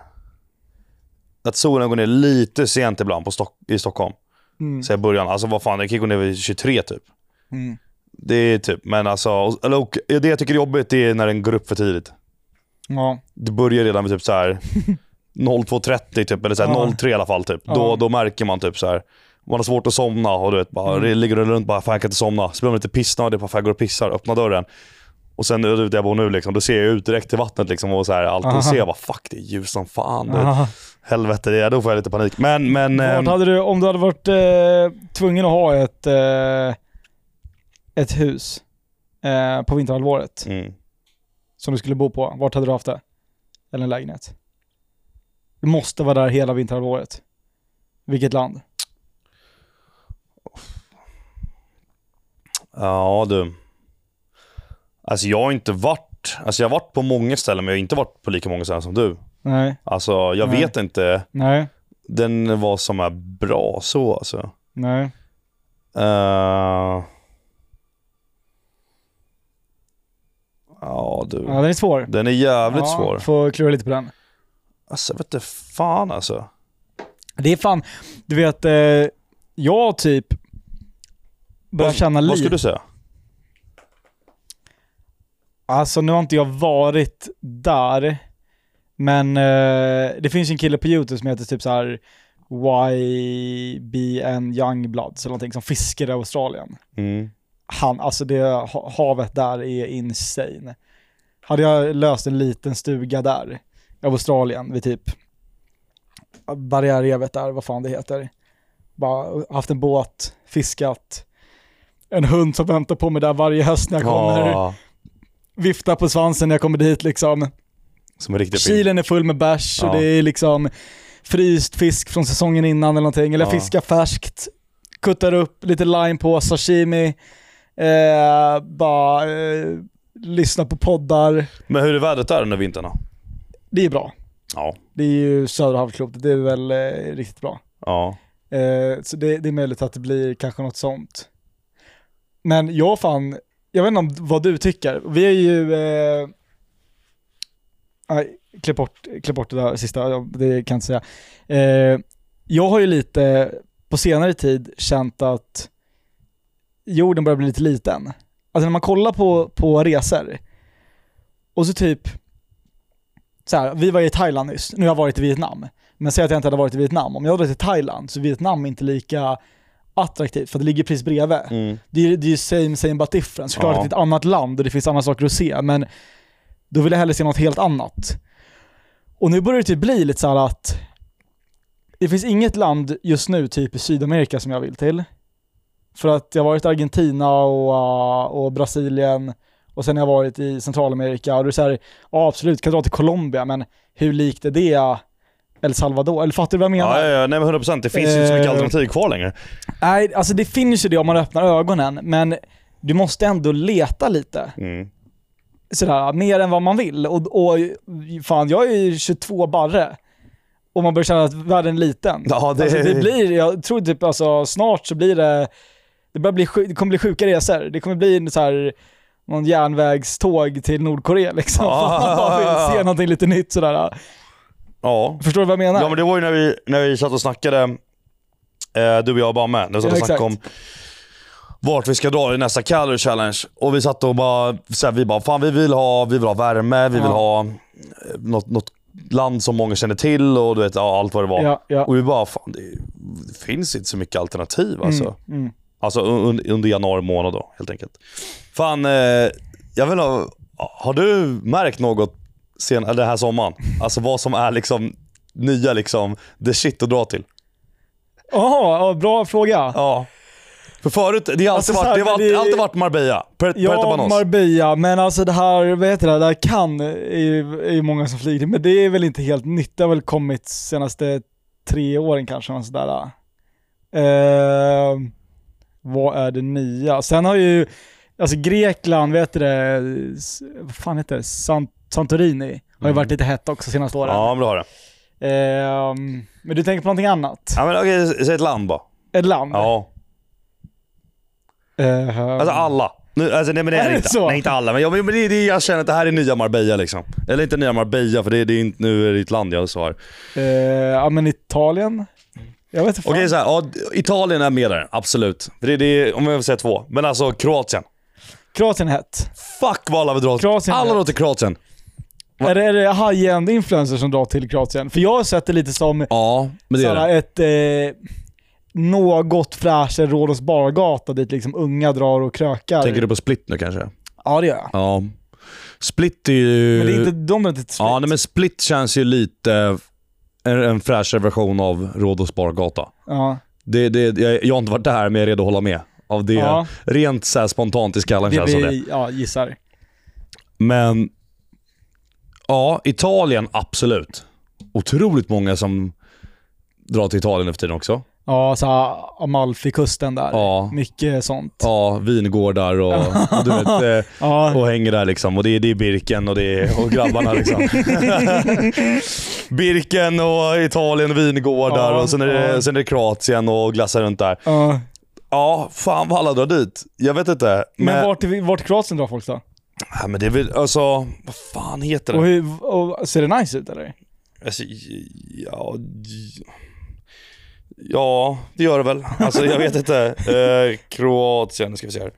Speaker 2: att solen går ner lite sent ibland på Stock, i Stockholm.
Speaker 1: Mm.
Speaker 2: Så här i början, alltså vad fan, det kan ju gå ner vid 23 typ.
Speaker 1: Mm.
Speaker 2: Det är typ, men alltså, och- eller, och, det jag tycker är jobbigt det är när den går upp för tidigt.
Speaker 1: Ja.
Speaker 2: Det börjar redan med typ så här 02.30 typ, eller så här
Speaker 1: Ja.
Speaker 2: 03 i alla fall typ.
Speaker 1: Ja.
Speaker 2: Då, då märker man typ så här man har svårt att somna och du vet, bara,
Speaker 1: Mm.
Speaker 2: ligger du runt bara, fan jag kan inte somna. Så blir man lite pissnödig, bara, fan jag går och pissar, öppnar dörren. Och sen du vet, där jag bor nu, liksom, då ser jag ut direkt till vattnet liksom, och så här, allt.
Speaker 1: Aha.
Speaker 2: Och ser jag bara, fuck det är ljus som fan. du vet.
Speaker 1: Aha.
Speaker 2: Helvete, det är, då får jag lite panik. Men, men...
Speaker 1: Vart
Speaker 2: ehm,
Speaker 1: hade du, om du hade varit eh, tvungen att ha ett, eh, ett hus eh, på vinterhalvåret
Speaker 2: mm.
Speaker 1: som du skulle bo på, vart hade du haft det? Eller en lägenhet? Du måste vara där hela vinterhalvåret. Vilket land?
Speaker 2: Ja du. Alltså jag har inte varit, alltså jag har varit på många ställen men jag har inte varit på lika många ställen som du.
Speaker 1: Nej,
Speaker 2: Alltså jag
Speaker 1: Nej.
Speaker 2: vet inte
Speaker 1: nej,
Speaker 2: den vad som är bra så alltså.
Speaker 1: nej.
Speaker 2: Eh. Ja
Speaker 1: Ja,
Speaker 2: du.
Speaker 1: den är svår.
Speaker 2: Den är jävligt
Speaker 1: ja,
Speaker 2: svår.
Speaker 1: Får klura lite på den.
Speaker 2: Alltså jag vet inte fan alltså.
Speaker 1: Det är fan, du vet, eh, jag typ börjar
Speaker 2: Vad-
Speaker 1: känna
Speaker 2: Vad skulle
Speaker 1: lite.
Speaker 2: du säga?
Speaker 1: Alltså nu har inte jag varit där, men eh, det finns en kille på YouTube som heter typ så här YBN Youngbloods eller någonting som fiskar i Australien.
Speaker 2: Mm.
Speaker 1: Han, alltså det ha- havet där är insane. Hade jag löst en liten stuga där i Australien vid typ barriärrevet där, vad fan det heter. Bara haft en båt, fiskat, en hund som väntar på mig där varje höst när jag kommer
Speaker 2: Ja.
Speaker 1: vifta på svansen när jag kommer dit liksom.
Speaker 2: Som en riktig film.
Speaker 1: Kylen är full med bärs och
Speaker 2: Ja.
Speaker 1: det är liksom fryst fisk från säsongen innan eller någonting. Eller
Speaker 2: Ja.
Speaker 1: fiska färskt, kuttar upp lite lime på, sashimi, eh, bara eh, lyssna på poddar.
Speaker 2: Men hur är vädret där under vintern då?
Speaker 1: Det är bra.
Speaker 2: Ja.
Speaker 1: Det är ju södra halvklotet, det är väl eh, riktigt bra.
Speaker 2: Ja.
Speaker 1: Eh, så det, det är möjligt att det blir kanske något sånt. Men jag fan, jag vet inte om, vad du tycker. Vi är ju... Eh, nej, klipp bort, klipp bort det där sista, ja, det kan jag inte säga. Eh, jag har ju lite på senare tid känt att jorden börjar bli lite liten. Alltså när man kollar på, på resor och så typ så här, vi var i Thailand nyss, nu har jag varit i Vietnam. Men säg att jag inte hade varit i Vietnam. Om jag hade varit i Thailand så är Vietnam inte lika attraktivt för det ligger precis bredvid.
Speaker 2: Mm.
Speaker 1: Det är, det är ju same same but different. Såklart
Speaker 2: Ja.
Speaker 1: att det är ett annat land och det finns andra saker att se, men då vill jag hellre se något helt annat. Och nu börjar det typ bli lite så här att det finns inget land just nu, typ i Sydamerika, som jag vill till. För att jag har varit i Argentina och, uh, och Brasilien och sen har jag varit i Centralamerika och det är så här, ja absolut, kan dra till Colombia, men hur likt är det El Salvador? Eller fattar du vad jag menar?
Speaker 2: Ja, ja, ja, nej men 100%. Det finns ju inte så mycket
Speaker 1: Eh.
Speaker 2: alternativ kvar längre.
Speaker 1: Nej, alltså det finns ju det om man öppnar ögonen, men du måste ändå leta lite.
Speaker 2: Mm.
Speaker 1: Sådär, mer än vad man vill. Och, och fan, jag är ju 22 barre. Och man börjar känna att världen är liten.
Speaker 2: Ja, det-
Speaker 1: Alltså, det blir, jag tror typ alltså, snart så blir det, det, börjar bli, sju- det kommer bli sjuka resor. Det kommer bli en så här, någon järnvägståg till Nordkorea liksom.
Speaker 2: Ja.
Speaker 1: Man bara vill se någonting lite nytt sådär.
Speaker 2: Ja.
Speaker 1: Förstår du vad jag menar?
Speaker 2: Ja men det var ju när vi, när vi satt och snackade, eh, du och jag och Bamme, när vi satt
Speaker 1: Ja,
Speaker 2: och snackade om
Speaker 1: exakt.
Speaker 2: vart vi ska dra i nästa calorie challenge. Och vi satt och bara, så här, vi bara, fan vi vill ha, vi vill ha värme, vi
Speaker 1: Ja.
Speaker 2: vill ha eh, något, något land som många känner till och du vet, ja, allt vad det var.
Speaker 1: ja, ja.
Speaker 2: Och vi bara, fan det, det finns inte så mycket alternativ alltså.
Speaker 1: Mm, mm.
Speaker 2: Alltså un, under januari månad då, helt enkelt. Fan, eh, jag vill ha, har du märkt något sen, eller den här sommaren? Alltså vad som är liksom nya liksom, the shit att dra till?
Speaker 1: Jaha, ja, bra fråga.
Speaker 2: Ja. För förut, det har
Speaker 1: Alltså,
Speaker 2: alltid,
Speaker 1: så här,
Speaker 2: varit, det har
Speaker 1: men det-
Speaker 2: alltid, alltid varit Marbella. Per,
Speaker 1: Ja,
Speaker 2: Banos.
Speaker 1: Marbella, men alltså det här, vad heter det, det här kan är ju, är ju många som flyger men det är väl inte helt nytt, det har väl kommit senaste tre åren kanske, något sådär. Eh, vad är det nya? Sen har ju, alltså Grekland, vad heter det, S- vad fan heter det, Sant Santorini har ju
Speaker 2: Mm.
Speaker 1: varit lite hett också senaste åren.
Speaker 2: ja, men det har det.
Speaker 1: Eh, men du tänker på någonting annat?
Speaker 2: Ja, men okej, säg ett land bara.
Speaker 1: Ett land?
Speaker 2: Ja.
Speaker 1: Eh,
Speaker 2: Alltså alla. Nu, alltså, nej men det
Speaker 1: Är
Speaker 2: är,
Speaker 1: det
Speaker 2: inte.
Speaker 1: så?
Speaker 2: Nej inte alla, men, jag, men det, det, jag känner att det här är nya Marbella liksom. Eller inte nya Marbella, för det, det är inte, nu är det ett land jag svarar.
Speaker 1: eh, ja men Italien? Jag vet inte fan.
Speaker 2: Okej såhär, ja, Italien är med där, absolut. Det är, det är, om jag vill säga två. Men alltså Kroatien.
Speaker 1: Kroatien är hett.
Speaker 2: Fuck vad alla vill dra
Speaker 1: Kroatien
Speaker 2: Alla
Speaker 1: är-
Speaker 2: drar till Kroatien.
Speaker 1: Är det, är det high-end influencers som drar till Kroatien? För jag har sett det lite som
Speaker 2: Ja, men det är
Speaker 1: såhär,
Speaker 2: det.
Speaker 1: ett eh, något fräschare Rhodos bargata dit liksom unga drar och krökar.
Speaker 2: Tänker du på Split nu kanske?
Speaker 1: Ja det gör jag.
Speaker 2: Ja. Split är ju...
Speaker 1: Men det är inte de är inte till
Speaker 2: Ja,
Speaker 1: slut.
Speaker 2: nej, men Split känns ju lite en, en fräschare version av Rhodos bargata.
Speaker 1: ja.
Speaker 2: Det, det, jag, jag har inte varit där, men jag är redo att hålla med. Av det,
Speaker 1: Ja.
Speaker 2: Rent så här spontant i skallen
Speaker 1: Det
Speaker 2: känns som det.
Speaker 1: blir, ja gissar.
Speaker 2: Men ja, Italien absolut. Otroligt många som drar till Italien nu för tiden också.
Speaker 1: Ja, såhär Amalfikusten där.
Speaker 2: Ja.
Speaker 1: Mycket sånt.
Speaker 2: Ja, vingårdar och, och, du vet, eh,
Speaker 1: Ja.
Speaker 2: och hänger där liksom. Och det är, det är Birken och, det är, och grabbarna liksom. Birken och Italien, vingårdar
Speaker 1: Ja,
Speaker 2: och sen är,
Speaker 1: ja.
Speaker 2: det, sen är det Kroatien och glassar runt där.
Speaker 1: Ja.
Speaker 2: Ja, fan vad alla drar dit. Jag vet inte. Men,
Speaker 1: Men vart, till- vart till Kroatien drar folk då?
Speaker 2: Ja, men det är väl, alltså, vad fan heter det?
Speaker 1: Och hur, och, ser det nice ut eller?
Speaker 2: Alltså, ja, ja, det gör det väl. Alltså jag vet inte. Eh, Kroatien, nu ska vi se här.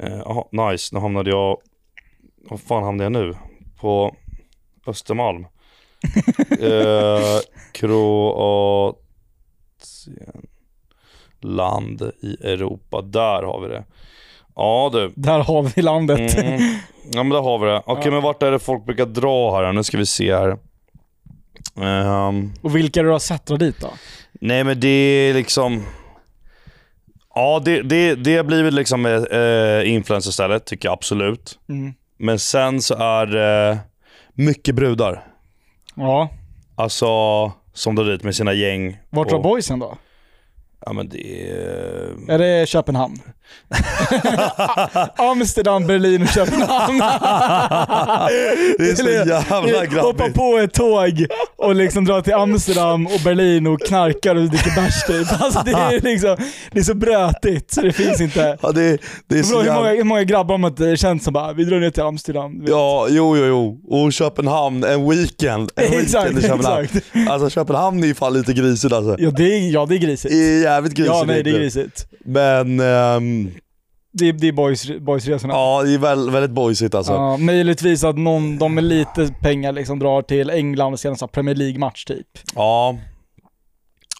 Speaker 2: Eh, aha, nice, nu hamnade jag... Vad fan hamnade jag nu? På Östermalm. Eh, Kroatien. Land i Europa. Där har vi det. Ja du.
Speaker 1: Där har vi landet.
Speaker 2: Mm. Ja men där har vi det. Okej
Speaker 1: Ja.
Speaker 2: men vart är det folk brukar dra här? Nu ska vi se här. Ehm,
Speaker 1: Och vilka du har sett dra dit då?
Speaker 2: nej men det är liksom... Ja det, det, det har blivit liksom eh, eh, influencer tycker jag absolut.
Speaker 1: Mm.
Speaker 2: Men sen så är det... Mycket brudar.
Speaker 1: Ja.
Speaker 2: Alltså, som drar dit med sina gäng.
Speaker 1: Vart var
Speaker 2: och-
Speaker 1: boysen då?
Speaker 2: Ja men det är...
Speaker 1: Är det Köpenhamn? Amsterdam, Berlin och Köpenhamn. eh,
Speaker 2: det är så jävla
Speaker 1: Hoppa
Speaker 2: grabbigt.
Speaker 1: på ett tåg och liksom dra till Amsterdam och Berlin och knarkar och dricker bärs typ. Alltså det är liksom, det är så brötigt så det finns inte.
Speaker 2: Ja, det, det
Speaker 1: Bro,
Speaker 2: är så
Speaker 1: hur, många,
Speaker 2: jävla...
Speaker 1: hur många grabbar har man inte känt som bara, vi drar ner till Amsterdam. du vet.
Speaker 2: Ja, jo, jo, jo. Och Köpenhamn, en weekend. En weekend i
Speaker 1: exakt,
Speaker 2: Köpenhamn.
Speaker 1: exakt.
Speaker 2: Alltså Köpenhamn är ju fan lite grisigt alltså.
Speaker 1: Ja det är, ja, det är grisigt.
Speaker 2: Det är jävligt grisigt.
Speaker 1: Ja nej det är
Speaker 2: egentligen.
Speaker 1: grisigt.
Speaker 2: Men ehm,
Speaker 1: Det är, det är boys, boysresorna.
Speaker 2: ja, det är väl, väldigt boysigt alltså.
Speaker 1: Ja, möjligtvis att någon, de med lite pengar liksom drar till England och ser en sån här Premier League-match typ.
Speaker 2: Ja.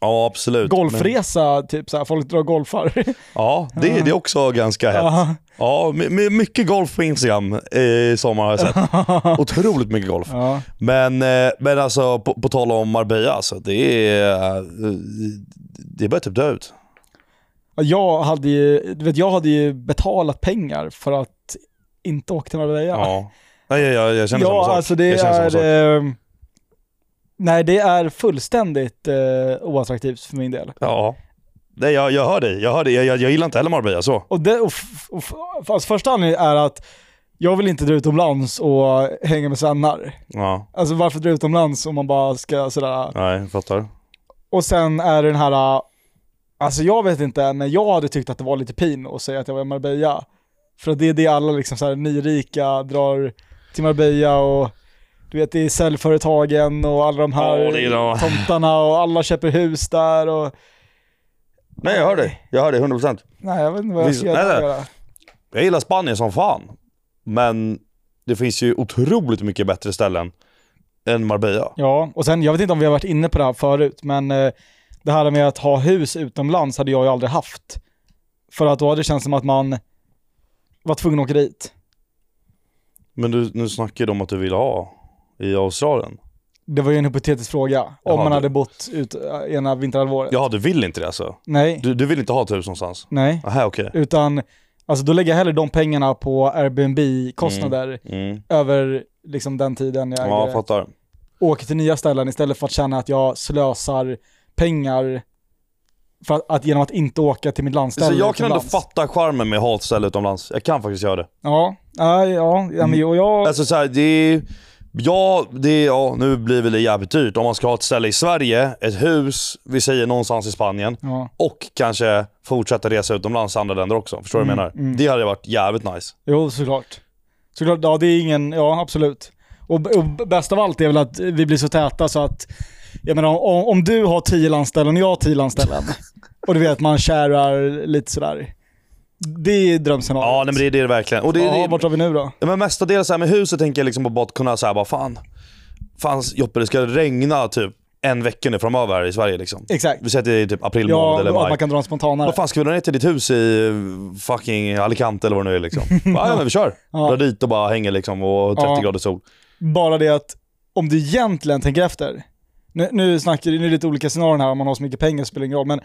Speaker 2: Ja, absolut. Men,
Speaker 1: Golfresa, typ såhär, folk drar golfar.
Speaker 2: ja, det, det är också ganska hett.
Speaker 1: Ja.
Speaker 2: Ja, my- my- mycket golf på Instagram eh, i sommar har jag sett. Otroligt mycket golf.
Speaker 1: Ja.
Speaker 2: Men, eh, men alltså på, på tal om Marbella alltså, det är... eh, Det börjar typ dö ut.
Speaker 1: Jag hade ju, du vet jag hade ju betalat pengar för att inte åka till Marbella.
Speaker 2: Ja. Nej, jag, jag, jag känner samma
Speaker 1: ja
Speaker 2: sak.
Speaker 1: alltså det
Speaker 2: jag känner samma
Speaker 1: är...
Speaker 2: sak.
Speaker 1: Eh, nej det är fullständigt eh, oattraktivt för min del.
Speaker 2: Ja. Nej, jag, jag hör dig. Jag, hör dig. Jag, jag, jag gillar inte heller Marbella så.
Speaker 1: Och det, och f- och f- alltså första anledningen är att jag vill inte dra utomlands och hänga med svennar.
Speaker 2: Ja.
Speaker 1: Alltså varför dra utomlands om man bara ska sådär...
Speaker 2: Nej, jag fattar.
Speaker 1: Och sen är det den här, äh, alltså jag vet inte, men jag hade tyckt att det var lite pin att säga att jag var i Marbella. För att det är det alla liksom så här nyrika drar till Marbella och du vet det är säljföretagen och alla de här
Speaker 2: Ja, det är då.
Speaker 1: tomtarna och alla köper hus där och
Speaker 2: Nej, jag hör dig. Jag hör dig 100%.
Speaker 1: nej jag vet inte vad jag
Speaker 2: Visst,
Speaker 1: ska
Speaker 2: nej, nej.
Speaker 1: göra.
Speaker 2: Jag gillar Spanien som fan. Men det finns ju otroligt mycket bättre ställen än Marbella.
Speaker 1: Ja, och sen jag vet inte om vi har varit inne på det här förut, men eh, det här med att ha hus utomlands hade jag ju aldrig haft. För att då hade det känts som att man var tvungen att åka dit.
Speaker 2: Men du, nu snackar ju de om att du vill ha i Australien.
Speaker 1: Det var ju en hypotetisk fråga. Om
Speaker 2: Jaha,
Speaker 1: man
Speaker 2: du-
Speaker 1: hade bott ut äh, ena vinterhalvåret.
Speaker 2: Jaha, du vill inte det alltså?
Speaker 1: Nej,
Speaker 2: Du, du vill inte ha ett hus någonstans?
Speaker 1: nej.
Speaker 2: Aha, okej.
Speaker 1: Utan, alltså då lägger jag hellre de pengarna på Airbnb-kostnader
Speaker 2: Mm.
Speaker 1: över liksom den tiden jag
Speaker 2: Ja,
Speaker 1: äger
Speaker 2: jag
Speaker 1: det.
Speaker 2: fattar.
Speaker 1: Åker till nya ställen istället för att känna att jag slösar pengar för att, att genom att inte åka till mitt landställe.
Speaker 2: Så jag kan ändå
Speaker 1: utomlands.
Speaker 2: fatta charmen med att ha ett ställe utomlands. Jag kan faktiskt göra det.
Speaker 1: Ja, ja, ja, ja men, och jag...
Speaker 2: Alltså så här, det är... Ja, det är, ja, nu blir väl det jävligt dyrt. Om man ska ha ett ställe i Sverige, ett hus, vi säger någonstans i Spanien.
Speaker 1: ja.
Speaker 2: Och kanske fortsätta resa utomlands till andra länder också. Förstår du vad
Speaker 1: Mm,
Speaker 2: jag menar? Det hade varit jävligt nice.
Speaker 1: Jo, såklart. Såklart, ja det är ingen, ja absolut. Och, b- och b- bäst av allt är väl att vi blir så täta så att, jag menar om, om du har tio landställen och jag har tio landställen, och du vet man kärar lite sådär. Det är drömscenariot.
Speaker 2: Ja, nej, men det, det är det verkligen. Och det,
Speaker 1: ja,
Speaker 2: det,
Speaker 1: vart har vi nu då?
Speaker 2: Ja, Men mestadels så här med huset tänker jag liksom på bara att kunna säga bara fan. Fan Joppe, det ska regna typ en vecka nu framöver här i Sverige liksom.
Speaker 1: Exakt.
Speaker 2: Vi säger att det är typ april månad
Speaker 1: Ja,
Speaker 2: eller
Speaker 1: att
Speaker 2: maj.
Speaker 1: man kan dra en spontanare.
Speaker 2: Vad fan ska vi dra ner till ditt hus i eh, fucking Alicante eller vad det nu är liksom? Bara, ja men vi kör.
Speaker 1: Ja.
Speaker 2: Dra dit och bara hänger liksom och 30
Speaker 1: Ja.
Speaker 2: grader sol.
Speaker 1: Bara det att om du egentligen tänker efter, nu, nu snackar nu är det lite olika scenarion här, om man har så mycket pengar spelar ingen roll, men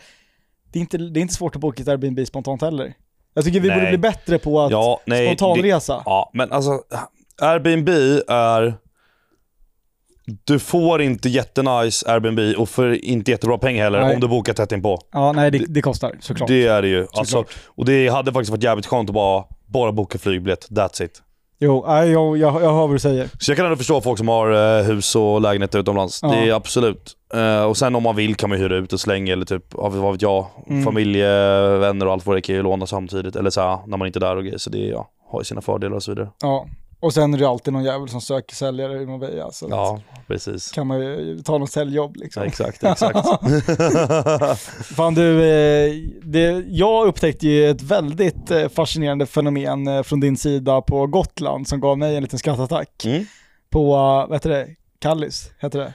Speaker 1: det är inte, det är inte svårt att boka ett Airbnb spontant heller. Jag tycker vi
Speaker 2: Nej.
Speaker 1: borde bli bättre på att
Speaker 2: Ja, nej,
Speaker 1: spontanresa.
Speaker 2: Ja, men alltså Airbnb är... Du får inte jättenice Airbnb och för inte jättebra pengar heller
Speaker 1: Nej.
Speaker 2: om du bokar tätt inpå.
Speaker 1: Ja, nej det, det kostar såklart.
Speaker 2: Det är det ju. Alltså, och det hade faktiskt varit jävligt skönt att bara, bara boka flygbiljett. That's it.
Speaker 1: Jo, nej, jag, jag, jag hör vad du säger.
Speaker 2: Så jag kan ändå förstå folk som har eh, hus och lägenheter utomlands.
Speaker 1: Ja.
Speaker 2: Det är absolut. Eh, och sen om man vill kan man ju hyra ut och slänga eller typ, ja, vad vet jag, familjevänner och allt vad det är kan ju låna samtidigt. Eller så här, när man inte är där och grejer. Så det är, ja, har ju sina fördelar och så vidare.
Speaker 1: Ja. Och sen är det alltid någon jävel som söker säljare i Marbella, så att-
Speaker 2: Ja, precis.
Speaker 1: kan man ju ta något säljjobb liksom.
Speaker 2: Ja, exakt, exakt.
Speaker 1: Fan du, eh, det, jag upptäckte ju ett väldigt eh, fascinerande fenomen eh, från din sida på Gotland som gav mig en liten skrattattack.
Speaker 2: Mm.
Speaker 1: På, eh, vad heter det, Kallis, heter det?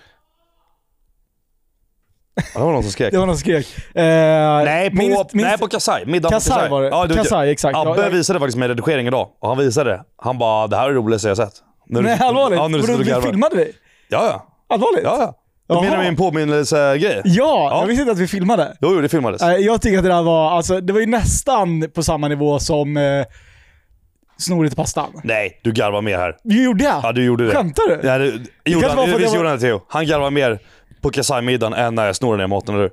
Speaker 2: Ja, det var någon som skrek.
Speaker 1: Det var någon som skrek. Eh,
Speaker 2: Nej, på,
Speaker 1: minns- minns-
Speaker 2: nej, på Kasai. Middag på
Speaker 1: Kasai var det.
Speaker 2: Ja,
Speaker 1: Kasai, exakt. Ja,
Speaker 2: Abbe
Speaker 1: jag-
Speaker 2: visade faktiskt mig redigering idag och han visade det. Han bara, det här är det roligaste jag har sett. När du-
Speaker 1: Nej, allvarligt?
Speaker 2: Ja, när du sitter och
Speaker 1: Vadå, vi
Speaker 2: garvar.
Speaker 1: filmade vi?
Speaker 2: Ja, ja.
Speaker 1: Allvarligt?
Speaker 2: ja, ja.
Speaker 1: Jaha.
Speaker 2: Du menar min påminnelsegrej?
Speaker 1: Ja,
Speaker 2: Ja.
Speaker 1: jag visste inte att vi filmade.
Speaker 2: Jo, jo, det filmades.
Speaker 1: Nej, Jag tycker att det där var, alltså det var ju nästan på samma nivå som eh, snor till pastan.
Speaker 2: Nej, du garvar mer här.
Speaker 1: Gjorde jag?
Speaker 2: Ja, du gjorde det.
Speaker 1: Skämtar du?
Speaker 2: Ja, du gjorde
Speaker 1: kanske var
Speaker 2: han,
Speaker 1: för att
Speaker 2: visst
Speaker 1: jag
Speaker 2: gjorde han det Theo? Han garvar mer på kasajmiddagen än när jag snor ner maten, eller hur?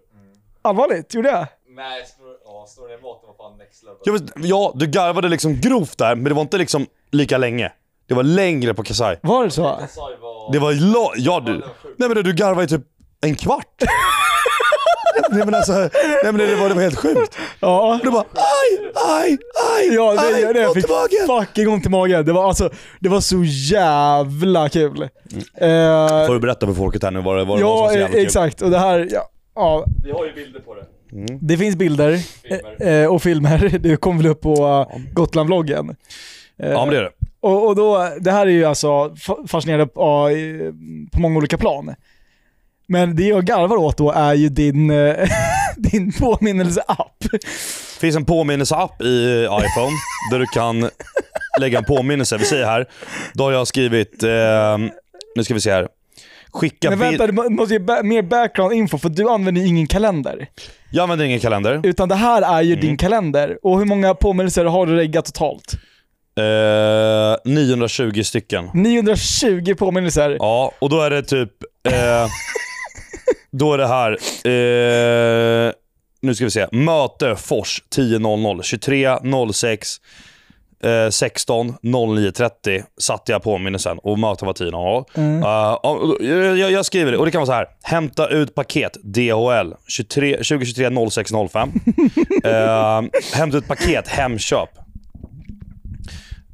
Speaker 1: Allvarligt, gjorde jag?
Speaker 3: Nej, slår, ja, slår ner maten var fan next level.
Speaker 2: Ja, men- Ja, du garvade liksom grovt där, men det var inte liksom lika länge. Det var längre på kasaj.
Speaker 1: Var det så?
Speaker 3: Kasai var...
Speaker 2: Det var la- Ja, du.
Speaker 3: var sjukt.
Speaker 2: Nej men du garvade i typ en kvart. nej men alltså, nej men det var, det var helt sjukt.
Speaker 1: Ja.
Speaker 2: Du bara aj, aj, aj,
Speaker 1: Ja, det
Speaker 2: aj,
Speaker 1: gör det. Jag
Speaker 2: ont i
Speaker 1: fick
Speaker 2: magen.
Speaker 1: fucking ont i magen. Det var, alltså, det var så jävla kul. Eh,
Speaker 2: Får du berätta för folket här nu vad Mm. det vad det var som var
Speaker 1: ja,
Speaker 2: så jävla kul?
Speaker 1: exakt. Och det här, ja. ja
Speaker 3: Vi har ju bilder på det.
Speaker 2: Mm.
Speaker 1: det finns bilder
Speaker 3: Filmer.
Speaker 1: eh, och filmer. Det kom väl upp på eh, Gotlandvloggen. Eh,
Speaker 2: Ja men det är det.
Speaker 1: och, och då, det här är ju alltså fa- fascinerande ja, i- på många olika plan. Men det jag garvar åt då är ju din, eh, din påminnelseapp.
Speaker 2: finns en påminnelseapp i iPhone där du kan lägga en påminnelse. Vi säger här, då har jag skrivit, eh, nu ska vi se här. Skicka
Speaker 1: Men
Speaker 2: bild.
Speaker 1: vänta, du må- måste ge ba- mer background info för du använder ju ingen kalender.
Speaker 2: Jag använder ingen kalender.
Speaker 1: Utan det här är ju
Speaker 2: Mm.
Speaker 1: din kalender. Och hur många påminnelser har du reggat totalt?
Speaker 2: Eh, 920 stycken.
Speaker 1: 920 påminnelser.
Speaker 2: Ja, och då är det typ... Eh, då är det här... Eh, nu ska vi se. Möte Fors 10.00. 23.06. Eh, 16 09.30 satte jag påminnelsen och mötet var 10.00.
Speaker 1: Mm.
Speaker 2: Eh, och- och- jag, jag skriver det och det kan vara så här. Hämta ut paket DHL 23, 2023 06.05. eh, hämta ut paket Hemköp.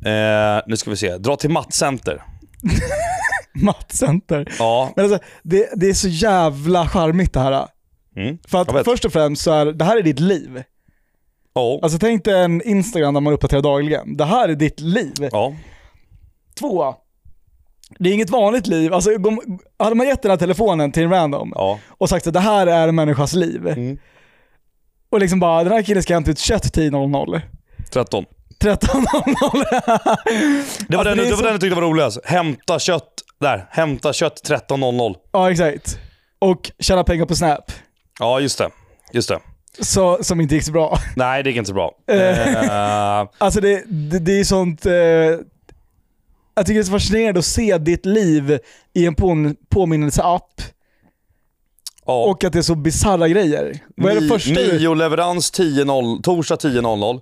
Speaker 2: Eh, nu ska vi se. Dra till Mattcenter.
Speaker 1: Mattcenter.
Speaker 2: Ja,
Speaker 1: Men alltså, det, det är så jävla charmigt det här.
Speaker 2: Mm.
Speaker 1: För
Speaker 2: Jag
Speaker 1: att
Speaker 2: vet.
Speaker 1: först och främst så är det här är ditt liv.
Speaker 2: Ja.
Speaker 1: Alltså tänk dig en Instagram där man uppdaterar dagligen. Det här är ditt liv.
Speaker 2: ja.
Speaker 1: Två. Det är inget vanligt liv. Alltså, de- hade man gett den här telefonen till en random
Speaker 2: Ja.
Speaker 1: och sagt att det här är en människas liv.
Speaker 2: Mm.
Speaker 1: Och liksom bara, den här killen ska hämta ut kött 10.00.
Speaker 2: 13.
Speaker 1: 13.00.
Speaker 2: Det var,
Speaker 1: Alltså, det är
Speaker 2: den, det var
Speaker 1: så-
Speaker 2: den jag tyckte var roligast. Hämta kött. Där. Hämta kött 13.00.
Speaker 1: Ja, exakt. Och tjäna pengar på Snap.
Speaker 2: Ja, just det. Just det.
Speaker 1: Så, som inte gick så bra.
Speaker 2: Nej, det gick inte så bra. Eh,
Speaker 1: Alltså det, det, det är sånt... Eh, jag tycker det är så fascinerande att se ditt liv i en påmin- påminnelseapp
Speaker 2: ja.
Speaker 1: och att det är så bisarra grejer. Vad är det
Speaker 2: Ni-
Speaker 1: första du...
Speaker 2: Nio-leverans 10.00, torsdag 10.00.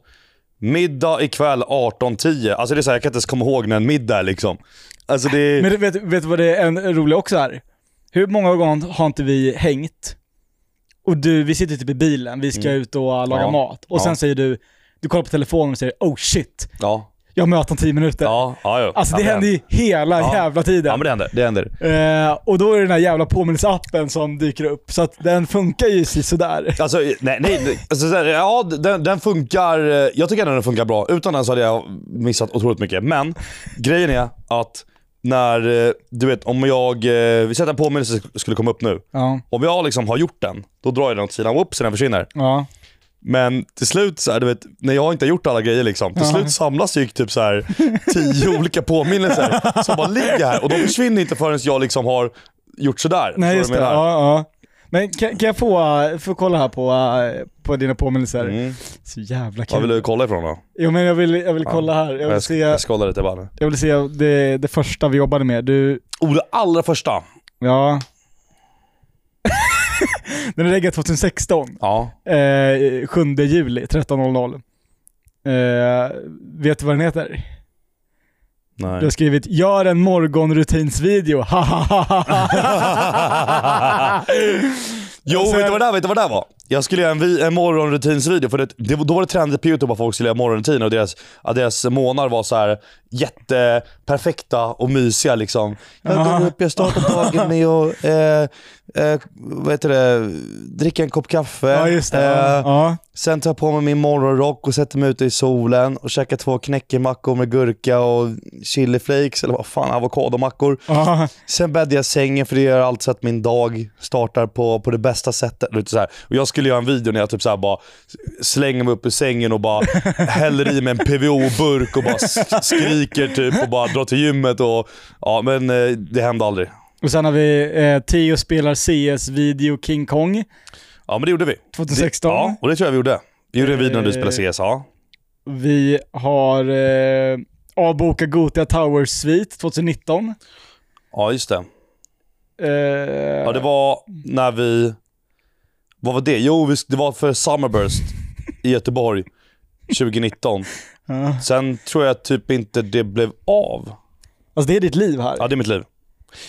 Speaker 2: Middag ikväll 18.10. Alltså det är så här, jag kan inte ens komma ihåg när en middag är liksom. Alltså det är...
Speaker 1: Men du vet, vet du vad det är en rolig också är? Hur många gånger har inte vi hängt? Och du, vi sitter typ i bilen, vi ska ut och äh, laga
Speaker 2: Mm. Ja.
Speaker 1: mat. Och
Speaker 2: Ja.
Speaker 1: sen säger du, du kollar på telefonen och säger oh shit,
Speaker 2: Ja.
Speaker 1: jag har möte om 10 minuter.
Speaker 2: Ja, ja, ja.
Speaker 1: Alltså
Speaker 2: ja,
Speaker 1: det händer ju hela
Speaker 2: Ja.
Speaker 1: jävla tiden.
Speaker 2: Ja, men det händer. Det händer.
Speaker 1: Eh, och då är det den här jävla påminnelseappen som dyker upp. Så att den funkar ju sådär.
Speaker 2: Alltså, nej, nej, nej. Alltså, så här, ja, den, den funkar. eh, Jag tycker ändå den funkar bra. Utan den så hade jag missat otroligt mycket. Men grejen är att när, eh, du vet om jag, eh, vi sätter en påminnelse som skulle komma upp nu.
Speaker 1: Ja,
Speaker 2: Om jag liksom har gjort den, då drar jag den åt sidan, whoops, så den försvinner.
Speaker 1: ja.
Speaker 2: Men till slut, så här, du vet, när jag inte har gjort alla grejer, liksom, till
Speaker 1: Ja.
Speaker 2: slut samlas ju typ så här, tio olika påminnelser som bara ligger här. Och de försvinner inte förrän jag liksom har gjort sådär. Förstår
Speaker 1: Nej
Speaker 2: du
Speaker 1: just
Speaker 2: vad
Speaker 1: det.
Speaker 2: jag menar?
Speaker 1: Ja, ja. Men kan, kan jag få, eh, få kolla här på, eh, på dina påminnelser?
Speaker 2: Mm.
Speaker 1: Så jävla
Speaker 2: Vad vill
Speaker 1: kul.
Speaker 2: du kolla ifrån då?
Speaker 1: Jo men jag vill, jag vill kolla här. Jag vill
Speaker 2: Jag,
Speaker 1: se,
Speaker 2: jag scrollar lite bara nu.
Speaker 1: jag vill se det, det första vi jobbade med. Du,
Speaker 2: Oh, det allra första.
Speaker 1: ja. Den är reggad 2016.
Speaker 2: Ja.
Speaker 1: Eh, 7 juli 13.00. Eh, vet du vad den heter?
Speaker 2: Nej.
Speaker 1: Du har skrivit “Gör en morgonrutinsvideo, hahaha”.
Speaker 2: Jo,
Speaker 1: Sen-
Speaker 2: vet du vad det där, vet du vad det där var? Jag skulle göra en, vi- en morgonrutinsvideo, för det, det, då var det trendigt på YouTube att folk skulle göra morgonrutiner och deras, att deras månader var så här jätteperfekta och mysiga. Liksom. Jag går upp, jag startar dagen med att eh, eh, vad heter det, dricka en kopp kaffe.
Speaker 1: ja just det.
Speaker 2: Eh,
Speaker 1: ja.
Speaker 2: Sen tar jag på mig min morgonrock och sätter mig ute i solen och käkar två knäckemackor med gurka och chiliflakes, eller vad fan, avokadomackor.
Speaker 1: Ja.
Speaker 2: Sen bäddade jag sängen för det gör allt så att min dag startar på, på det bästa sättet. Lite så här. Och jag skulle göra en video när jag typ så här bara slänger mig upp ur sängen och bara häller i mig en PVO-burk och bara s- skriker typ och bara drar till gymmet. Och, ja, men eh, det hände aldrig.
Speaker 1: Och sen har vi eh, Theo spelar CS-video King Kong
Speaker 2: Ja, men det gjorde vi.
Speaker 1: 2016.
Speaker 2: Ja, och det tror jag vi gjorde. Vi gjorde en video när du spelade CS. Ja.
Speaker 1: Vi har eh, avboka Gotia Tower Suite 2019.
Speaker 2: Ja, just det.
Speaker 1: Eh,
Speaker 2: Ja, det var när vi... Vad var det? Jo, vi, det var för Summerburst i Göteborg 2019.
Speaker 1: ja.
Speaker 2: Sen tror jag typ inte det blev av.
Speaker 1: Alltså det är ditt liv här.
Speaker 2: Ja, det är mitt liv.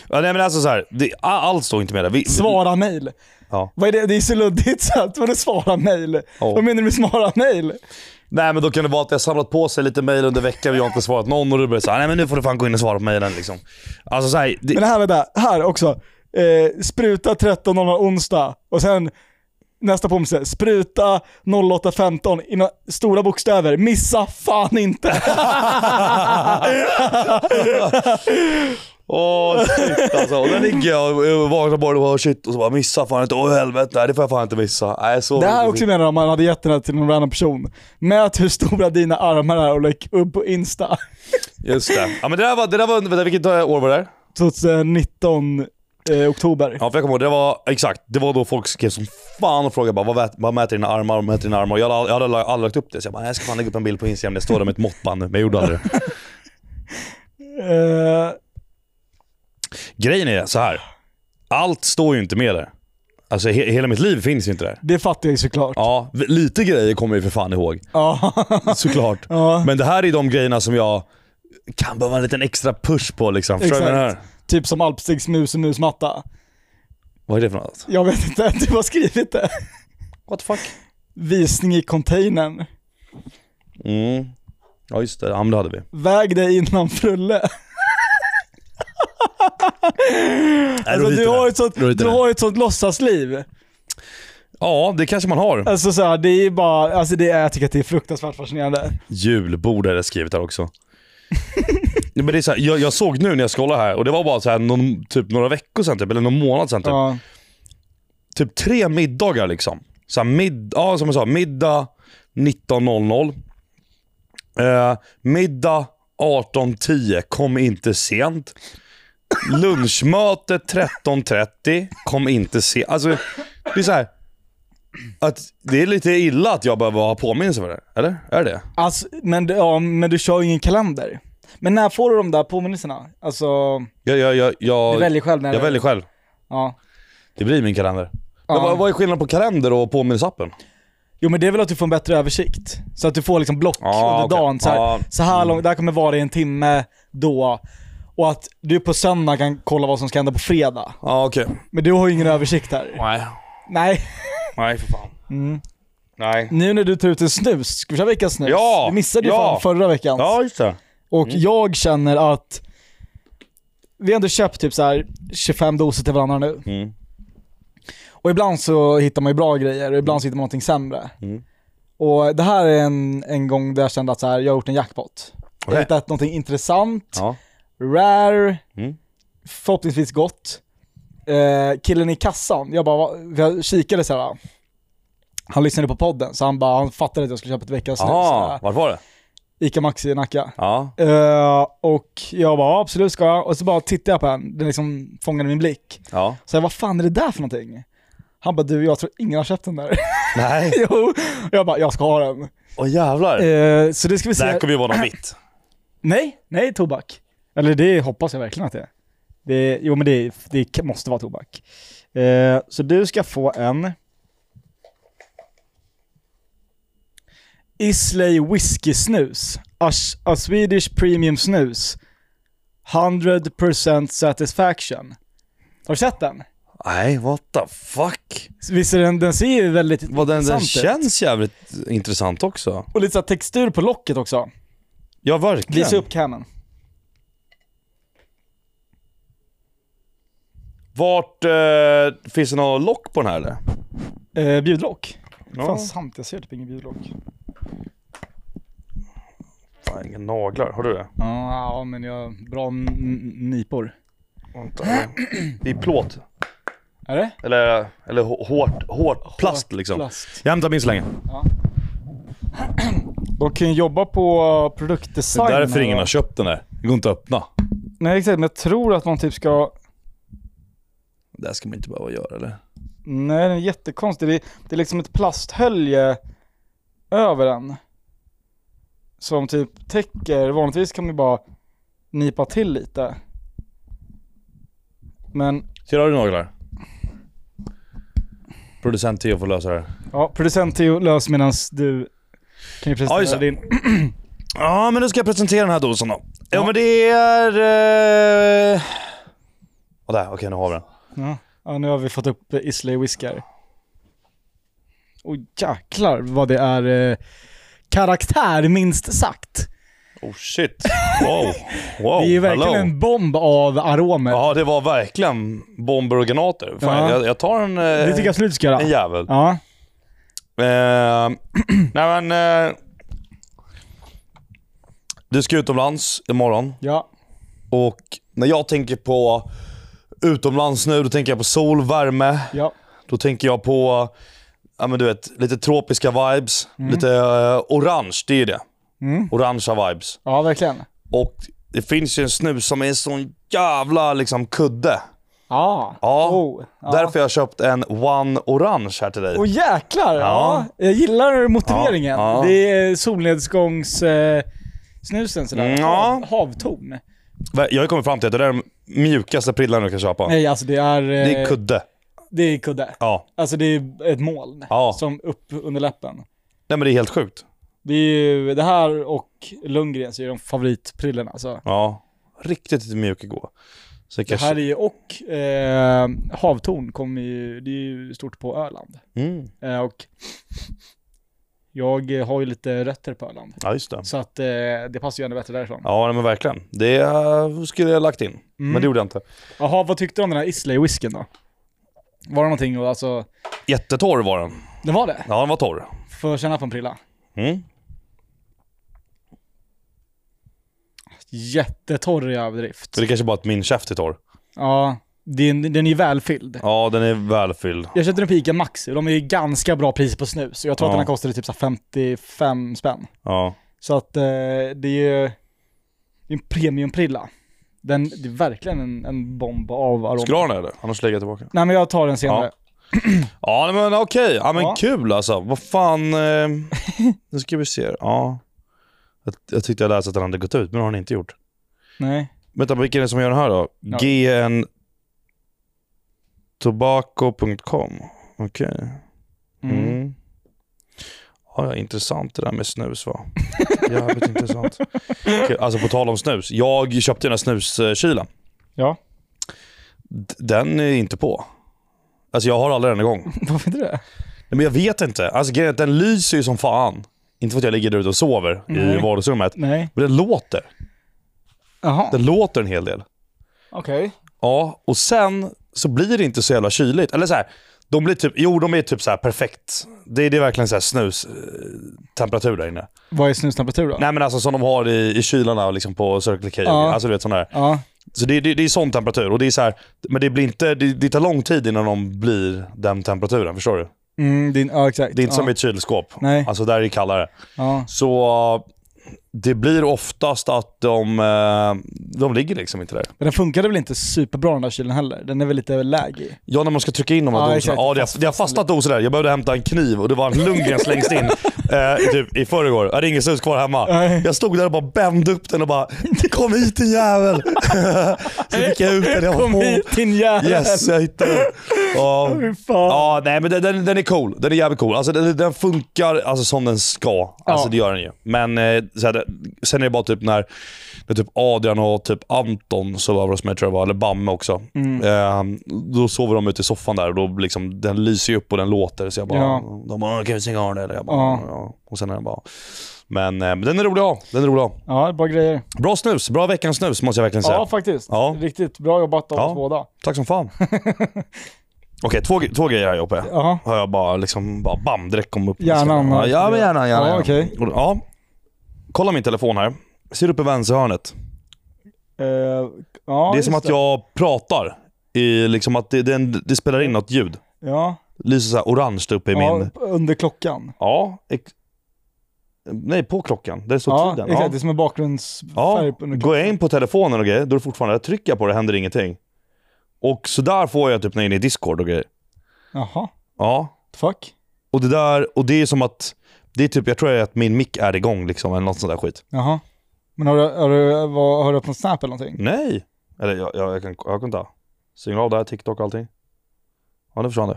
Speaker 2: Ja, nej men alltså så här, det, a- allt står inte med där. Vi, vi-
Speaker 1: Svara mail.
Speaker 2: Ja.
Speaker 1: Vad är det? Det är så luddigt så att vadå svara mail? Vad menar du med svara mail?
Speaker 2: Nej men då kan det vara att jag samlat på sig lite mejl under veckan och jag har inte svarat någon och du börjar såhär, nej men nu får du fan gå in och svara på mejlen liksom. Alltså såhär,
Speaker 1: Men
Speaker 2: det,
Speaker 1: här, vänta, här också. Eh, spruta 13.00 onsdag och sen nästa påminnelse. Spruta 08.15 i några stora bokstäver. Missa fan inte!
Speaker 2: åh shit alltså. Och där ligger jag och- och vaknar bara och bara shit och så bara missa fan inte, åh helvete, nej det får jag fan inte missa. Nej så
Speaker 1: Det här är också menar jag om man hade gett den här till någon random person. Mät hur stora dina armar är och lägg upp på Insta.
Speaker 2: Just det. Ja men det där var, det där var, vänta, vilket år var det? här?
Speaker 1: 2019 eh, oktober.
Speaker 2: Ja för jag kommer ihåg, det var, exakt, det var då folk skrev som fan och frågade bara vad, vät, vad mäter dina armar, vad mäter dina armar? Och jag hade, jag hade aldrig- aldrig lagt upp det så jag bara, nej jag ska fan lägga upp en bild på Instagram där jag står där med ett måttband men jag gjorde aldrig det.
Speaker 1: Eh,
Speaker 2: Grejen är så här. allt står ju inte med där. Alltså he- hela mitt liv finns ju inte där.
Speaker 1: det fattar jag ju såklart.
Speaker 2: Ja, v- lite grejer kommer jag ju för fan ihåg.
Speaker 1: Ja.
Speaker 2: Såklart.
Speaker 1: Ja.
Speaker 2: Men det här är de grejerna som jag kan behöva en liten extra push på liksom. Förstår du vad jag menar?
Speaker 1: Exakt. Typ som alpstegs mus och musmatta.
Speaker 2: Vad är det för något?
Speaker 1: Jag vet inte, du har skrivit det.
Speaker 2: What the fuck?
Speaker 1: Visning i containern.
Speaker 2: Mm. Ja just det, ja, men det hade vi.
Speaker 1: Väg dig innan frulle. Alltså, du, har ett sånt, du har ett sånt låtsasliv.
Speaker 2: Ja, det kanske man har.
Speaker 1: Alltså så här, det är bara, alltså det är, jag tycker att det är fruktansvärt fascinerande.
Speaker 2: Typ. Julbord är det skrivit här också. Nej, men det är så här, jag, jag såg nu när jag scrollade här och det var bara så här någon, typ några veckor sedan, typ, eller någon månad sedan. Typ.
Speaker 1: Ja.
Speaker 2: typ tre middagar liksom. Så här mid, ja, som jag sa, middag 19.00. Eh, middag 18.10, kom inte sent. Lunchmöte 13.30, kom inte sent. Alltså, det är så här. Att det är lite illa att jag behöver ha påminnelse för det. Eller? Är det
Speaker 1: Alltså, men, det- ja, men du kör ju ingen kalender. Men när får du de där påminnelserna? Alltså,
Speaker 2: jag, jag, jag,
Speaker 1: du
Speaker 2: jag,
Speaker 1: väljer själv när
Speaker 2: jag
Speaker 1: du-
Speaker 2: väljer själv.
Speaker 1: Ja.
Speaker 2: Det blir min kalender. Men
Speaker 1: Ja.
Speaker 2: vad, vad är skillnaden på kalender och påminnelseappen?
Speaker 1: Jo men det är väl att du får en bättre översikt. Så att du får liksom block
Speaker 2: Ja,
Speaker 1: under
Speaker 2: okej.
Speaker 1: dagen. Så här,
Speaker 2: Ja. Mm.
Speaker 1: så här långt, det här kommer vara i en timme då. Och att du på söndag kan kolla vad som ska hända på fredag.
Speaker 2: Ja, okej.
Speaker 1: Men du har ju ingen översikt här.
Speaker 2: Nej.
Speaker 1: Nej.
Speaker 2: Nej, för fan.
Speaker 1: Mm.
Speaker 2: Nej.
Speaker 1: Nu när du tar ut en snus, ska vi köra veckans snus?
Speaker 2: Ja!
Speaker 1: Du missade ju
Speaker 2: Ja!
Speaker 1: fan förra veckan.
Speaker 2: Ja, Mm. just det.
Speaker 1: Och jag känner att vi har ändå köpt typ så här 25 doser till varandra nu.
Speaker 2: Mm.
Speaker 1: Och ibland så hittar man ju bra grejer och ibland så hittar man någonting sämre.
Speaker 2: Mm.
Speaker 1: Och det här är en, en gång där jag kände att så här, jag har gjort en jackpot. Jag har
Speaker 2: Okej.
Speaker 1: hittat någonting intressant,
Speaker 2: Ja.
Speaker 1: rare,
Speaker 2: Mm.
Speaker 1: förhoppningsvis gott. Eh, killen i kassan, jag bara, va- jag kikade så här. Han lyssnade på podden så han bara, han fattade att jag skulle köpa ett veckans snus.
Speaker 2: Jaha, vart var det?
Speaker 1: Ica Maxi i Nacka.
Speaker 2: Ja.
Speaker 1: Eh, och jag bara, ja, absolut ska jag. Och så bara tittade jag på den, den liksom fångade min blick.
Speaker 2: ja.
Speaker 1: Så jag, vad fan är det där för någonting? Han bara, du jag tror ingen har köpt den där.
Speaker 2: Nej.
Speaker 1: jo. Jag bara, jag ska ha den.
Speaker 2: Åh jävlar.
Speaker 1: Eh, så det ska vi
Speaker 2: det här
Speaker 1: se.
Speaker 2: kommer ju vara något mitt.
Speaker 1: Nej, nej tobak. Eller det hoppas jag verkligen att det är. Det, jo men det, det k- måste vara tobak. Eh, så du ska få en... Islay Whiskey Snus. A, s- a Swedish Premium Snus. 100% satisfaction. Har du sett den?
Speaker 2: Nej, what the fuck.
Speaker 1: Visst är den, den ser ju väldigt
Speaker 2: Vad den, den
Speaker 1: intressant ut.
Speaker 2: känns jävligt intressant också.
Speaker 1: Och lite så här textur på locket också.
Speaker 2: Ja, verkligen.
Speaker 1: Visa upp Canon.
Speaker 2: Vart, eh, finns det något lock på den här eller?
Speaker 1: Eh, bjudlock.
Speaker 2: Ja.
Speaker 1: Fan sant, jag ser typ ingen bjudlock.
Speaker 2: Fan, inga naglar. Har du det?
Speaker 1: Ja, ja, men jag... Bra n- n- nipor.
Speaker 2: Vänta. Det är plåt.
Speaker 1: Är det?
Speaker 2: Eller, eller hå- hårt, hårt plast liksom.
Speaker 1: Plast.
Speaker 2: Jag hämtar min så länge.
Speaker 1: De kan ju jobba på
Speaker 2: Det
Speaker 1: produktdesign.
Speaker 2: är därför
Speaker 1: här,
Speaker 2: ingen
Speaker 1: va?
Speaker 2: har köpt den där. Det går inte att öppna.
Speaker 1: Nej exakt, men jag tror att man typ ska...
Speaker 2: Det här ska man inte behöva göra eller?
Speaker 1: Nej den är jättekonstig. Det är, det är liksom ett plasthölje över den. som typ täcker, vanligtvis kan man ju bara nipa till lite. Men
Speaker 2: Ser du naglar? Producent Theo får lösa det här.
Speaker 1: ja, producent Theo lös medan du kan ju
Speaker 2: Ja, just
Speaker 1: presentera
Speaker 2: det.
Speaker 1: din.
Speaker 2: Ja, men nu ska jag presentera den här dosan då. Ja,
Speaker 1: Ja.
Speaker 2: men det är... Eh... Och där, okej nu har vi den.
Speaker 1: Ja. ja, nu har vi fått upp eh, Islay Whiskar. Oj jäklar vad det är eh, karaktär minst sagt.
Speaker 2: Oh shit. Wow. Wow.
Speaker 1: det är ju verkligen
Speaker 2: hello.
Speaker 1: en bomb av aromer.
Speaker 2: Ja, det var verkligen bomber och granater. Fan,
Speaker 1: Ja.
Speaker 2: jag, jag tar en, eh,
Speaker 1: Det tycker jag absolut du ska
Speaker 2: en
Speaker 1: göra.
Speaker 2: jävel.
Speaker 1: Ja.
Speaker 2: Eh, nej men... Eh, du ska utomlands imorgon
Speaker 1: Ja.
Speaker 2: och när jag tänker på utomlands nu, då tänker jag på sol, värme.
Speaker 1: Ja.
Speaker 2: Då tänker jag på ja, men du vet, lite tropiska vibes. Lite eh, orange, det är det.
Speaker 1: Mm.
Speaker 2: Orangea vibes.
Speaker 1: ja, verkligen.
Speaker 2: Och det finns ju en snus som är en sån jävla liksom, kudde.
Speaker 1: Ja.
Speaker 2: Ja.
Speaker 1: Oh. ja.
Speaker 2: Därför har jag köpt en One Orange här till dig.
Speaker 1: Åh jäklar! Ja.
Speaker 2: Ja.
Speaker 1: Jag gillar motiveringen.
Speaker 2: Ja, ja.
Speaker 1: Det är solnedgångssnusen eh, snusen sådär.
Speaker 2: Mm,
Speaker 1: Hav,
Speaker 2: ja.
Speaker 1: havton.
Speaker 2: Jag har kommit fram till att det där är de mjukaste prillarna du kan köpa.
Speaker 1: Nej alltså det är, eh,
Speaker 2: Det är kudde.
Speaker 1: det är kudde.
Speaker 2: Ja.
Speaker 1: Alltså det är ett moln
Speaker 2: Ja.
Speaker 1: som upp under läppen.
Speaker 2: Nej men det är helt sjukt.
Speaker 1: Det är ju det här och Lundgrens är ju de favoritprillorna alltså.
Speaker 2: Ja. Riktigt mjuk igår. Så
Speaker 1: Det
Speaker 2: kanske...
Speaker 1: här är ju, och eh, havtorn kommer ju, det är ju stort på Öland.
Speaker 2: mm.
Speaker 1: Eh, och jag har ju lite rötter på Öland.
Speaker 2: Ja just det.
Speaker 1: Så att eh, det passar ju ännu bättre därifrån.
Speaker 2: Ja nej, men verkligen. Det eh, skulle jag ha lagt in. Men det gjorde jag inte.
Speaker 1: Jaha, vad tyckte du om den här Islay-whisken då? Var det någonting och alltså...
Speaker 2: Jättetorr var den.
Speaker 1: Det var det?
Speaker 2: Ja den var torr.
Speaker 1: Får jag känna på en prilla?
Speaker 2: Mm.
Speaker 1: Jättetorr i överdrift.
Speaker 2: Så det kanske bara att min käft är torr.
Speaker 1: Ja, den, den är ju välfylld.
Speaker 2: Ja den är välfylld.
Speaker 1: Jag köpte den på Ica Maxi och de är ju ganska bra pris på snus. Jag tror att
Speaker 2: Ja.
Speaker 1: den här kostade typ så här 55 spänn.
Speaker 2: Ja.
Speaker 1: Så att eh, det är ju det är en premiumprilla. Den, det är verkligen en, en bomb av arom.
Speaker 2: Ska du ha den eller? Annars lägger jag tillbaka.
Speaker 1: Nej men jag tar den senare.
Speaker 2: Ja nej, men okej. Ja men
Speaker 1: Ja.
Speaker 2: kul alltså. Vad fan. Eh... nu ska vi se. Ja. Jag, jag tyckte jag läste att den hade gått ut men det har den inte gjort.
Speaker 1: Nej.
Speaker 2: Vänta, vilken är det som gör den här då?
Speaker 1: Ja.
Speaker 2: gntobacco.com Okej.
Speaker 1: Mm.
Speaker 2: Mm. Ja, ja, intressant det där med snus va? Jävligt intressant. Okej, Alltså på tal om snus. Jag köpte den här snuskylen.
Speaker 1: Ja.
Speaker 2: D- Den är inte på. Alltså jag har aldrig den igång.
Speaker 1: Varför inte det?
Speaker 2: Nej, Men jag vet inte. Alltså grejen är att den lyser ju som fan. Inte för att jag ligger där ute och sover
Speaker 1: Nej.
Speaker 2: i vardagsrummet.
Speaker 1: Nej.
Speaker 2: Men den låter.
Speaker 1: Jaha,
Speaker 2: Den låter en hel del.
Speaker 1: okej.
Speaker 2: Ja, och sen så blir det inte så jävla kyligt. Eller så här, de blir typ, jo de är typ så här perfekt. Det, är- det är verkligen så här snus eh, temperatur där inne.
Speaker 1: Vad är snustemperatur då?
Speaker 2: Nej men alltså som de har i, i kylarna liksom på Circle K.
Speaker 1: Ja.
Speaker 2: Alltså du vet sån där.
Speaker 1: Ja.
Speaker 2: Så det, det, det är sån temperatur. Och det är så här, men det blir inte, det, det tar lång tid innan de blir den temperaturen. Förstår du?
Speaker 1: Mm, din, ja exakt.
Speaker 2: Det är inte
Speaker 1: ja.
Speaker 2: som i ett kylskåp.
Speaker 1: Nej.
Speaker 2: Alltså där är det kallare.
Speaker 1: Ja.
Speaker 2: Så det blir oftast att de, eh, de ligger liksom inte där.
Speaker 1: Men den funkade väl inte superbra den där kylen heller? Den är väl lite lägig?
Speaker 2: Ja, när man ska trycka in de här
Speaker 1: Ja,
Speaker 2: doserna.
Speaker 1: exakt.
Speaker 2: Ja, det har, det har fastnat doser där. Jag behövde hämta en kniv och det var en Lundgren längst in eh, typ, i förrgår. Jag hade ingen snus kvar hemma.
Speaker 1: Nej.
Speaker 2: Jag stod där och bara bände upp den och bara “Kom hit din jävel!” Så fick jag ut den. Jag
Speaker 1: Kom
Speaker 2: bara, oh,
Speaker 1: hit din jävel!
Speaker 2: yes, jag hittade den. Ja.
Speaker 1: Fy fan.
Speaker 2: Ja, nej men den- den, den är cool. Den är jävligt cool. Alltså den, den funkar alltså, som den ska. Alltså
Speaker 1: Ja.
Speaker 2: det gör den ju. Men eh, så här, det- sen är det bara typ när, när typ Adrian och typ Anton sov över hos mig tror jag det var, eller Bamme också. Eh, då sover de ute i soffan där och då liksom, den lyser ju upp och den låter. Så jag bara,
Speaker 1: Ja.
Speaker 2: de bara “Kan vi stänga av den?” eller jag bara,
Speaker 1: Ja.
Speaker 2: ja. Och sen är den bara... Men, eh, men den är rolig att ha. Den är rolig att ha.
Speaker 1: Ja, bra grejer.
Speaker 2: Bra snus. Bra veckans snus måste jag verkligen säga.
Speaker 1: Ja, faktiskt.
Speaker 2: Ja.
Speaker 1: Riktigt bra jobbat av
Speaker 2: Ja.
Speaker 1: oss båda.
Speaker 2: Tack som fan. Okej, två, två grejer här Joppe.
Speaker 1: Jaha.
Speaker 2: Har jag bara liksom, bara bam, direkt kom upp.
Speaker 1: Hjärnan har-
Speaker 2: Ja, ja men gärna, gärna.
Speaker 1: Ja,
Speaker 2: gärna.
Speaker 1: okej.
Speaker 2: Och- Ja. Kolla min telefon här. Ser uppe i vänsterhörnet.
Speaker 1: Eh, ja,
Speaker 2: det är som
Speaker 1: just
Speaker 2: att jag pratar. I, liksom att det, det, är en- det spelar in något ljud.
Speaker 1: Ja,
Speaker 2: Lyser så här orange där uppe i
Speaker 1: ja
Speaker 2: min...
Speaker 1: under klockan.
Speaker 2: Ja. Ex... Nej, på klockan. Där det står
Speaker 1: Ja,
Speaker 2: tiden.
Speaker 1: exakt.
Speaker 2: Ja.
Speaker 1: Det är som en bakgrundsfärg
Speaker 2: Ja,
Speaker 1: under
Speaker 2: går jag in på telefonen och grejer, då är det fortfarande, trycker jag på det händer ingenting. Och så där får jag typ när jag är inne i Discord och grejer.
Speaker 1: Jaha,
Speaker 2: Ja,
Speaker 1: fuck.
Speaker 2: Och det där, och det är som att Det är typ, jag tror att min mick är igång liksom, eller något sånt där skit.
Speaker 1: Jaha. Men har du, har du, vad, har du öppnat Snap eller någonting?
Speaker 2: Nej! Eller jag, jag, jag kan, jag kan ta. Stäng av där, TikTok och allting. Ja, nu försvann det.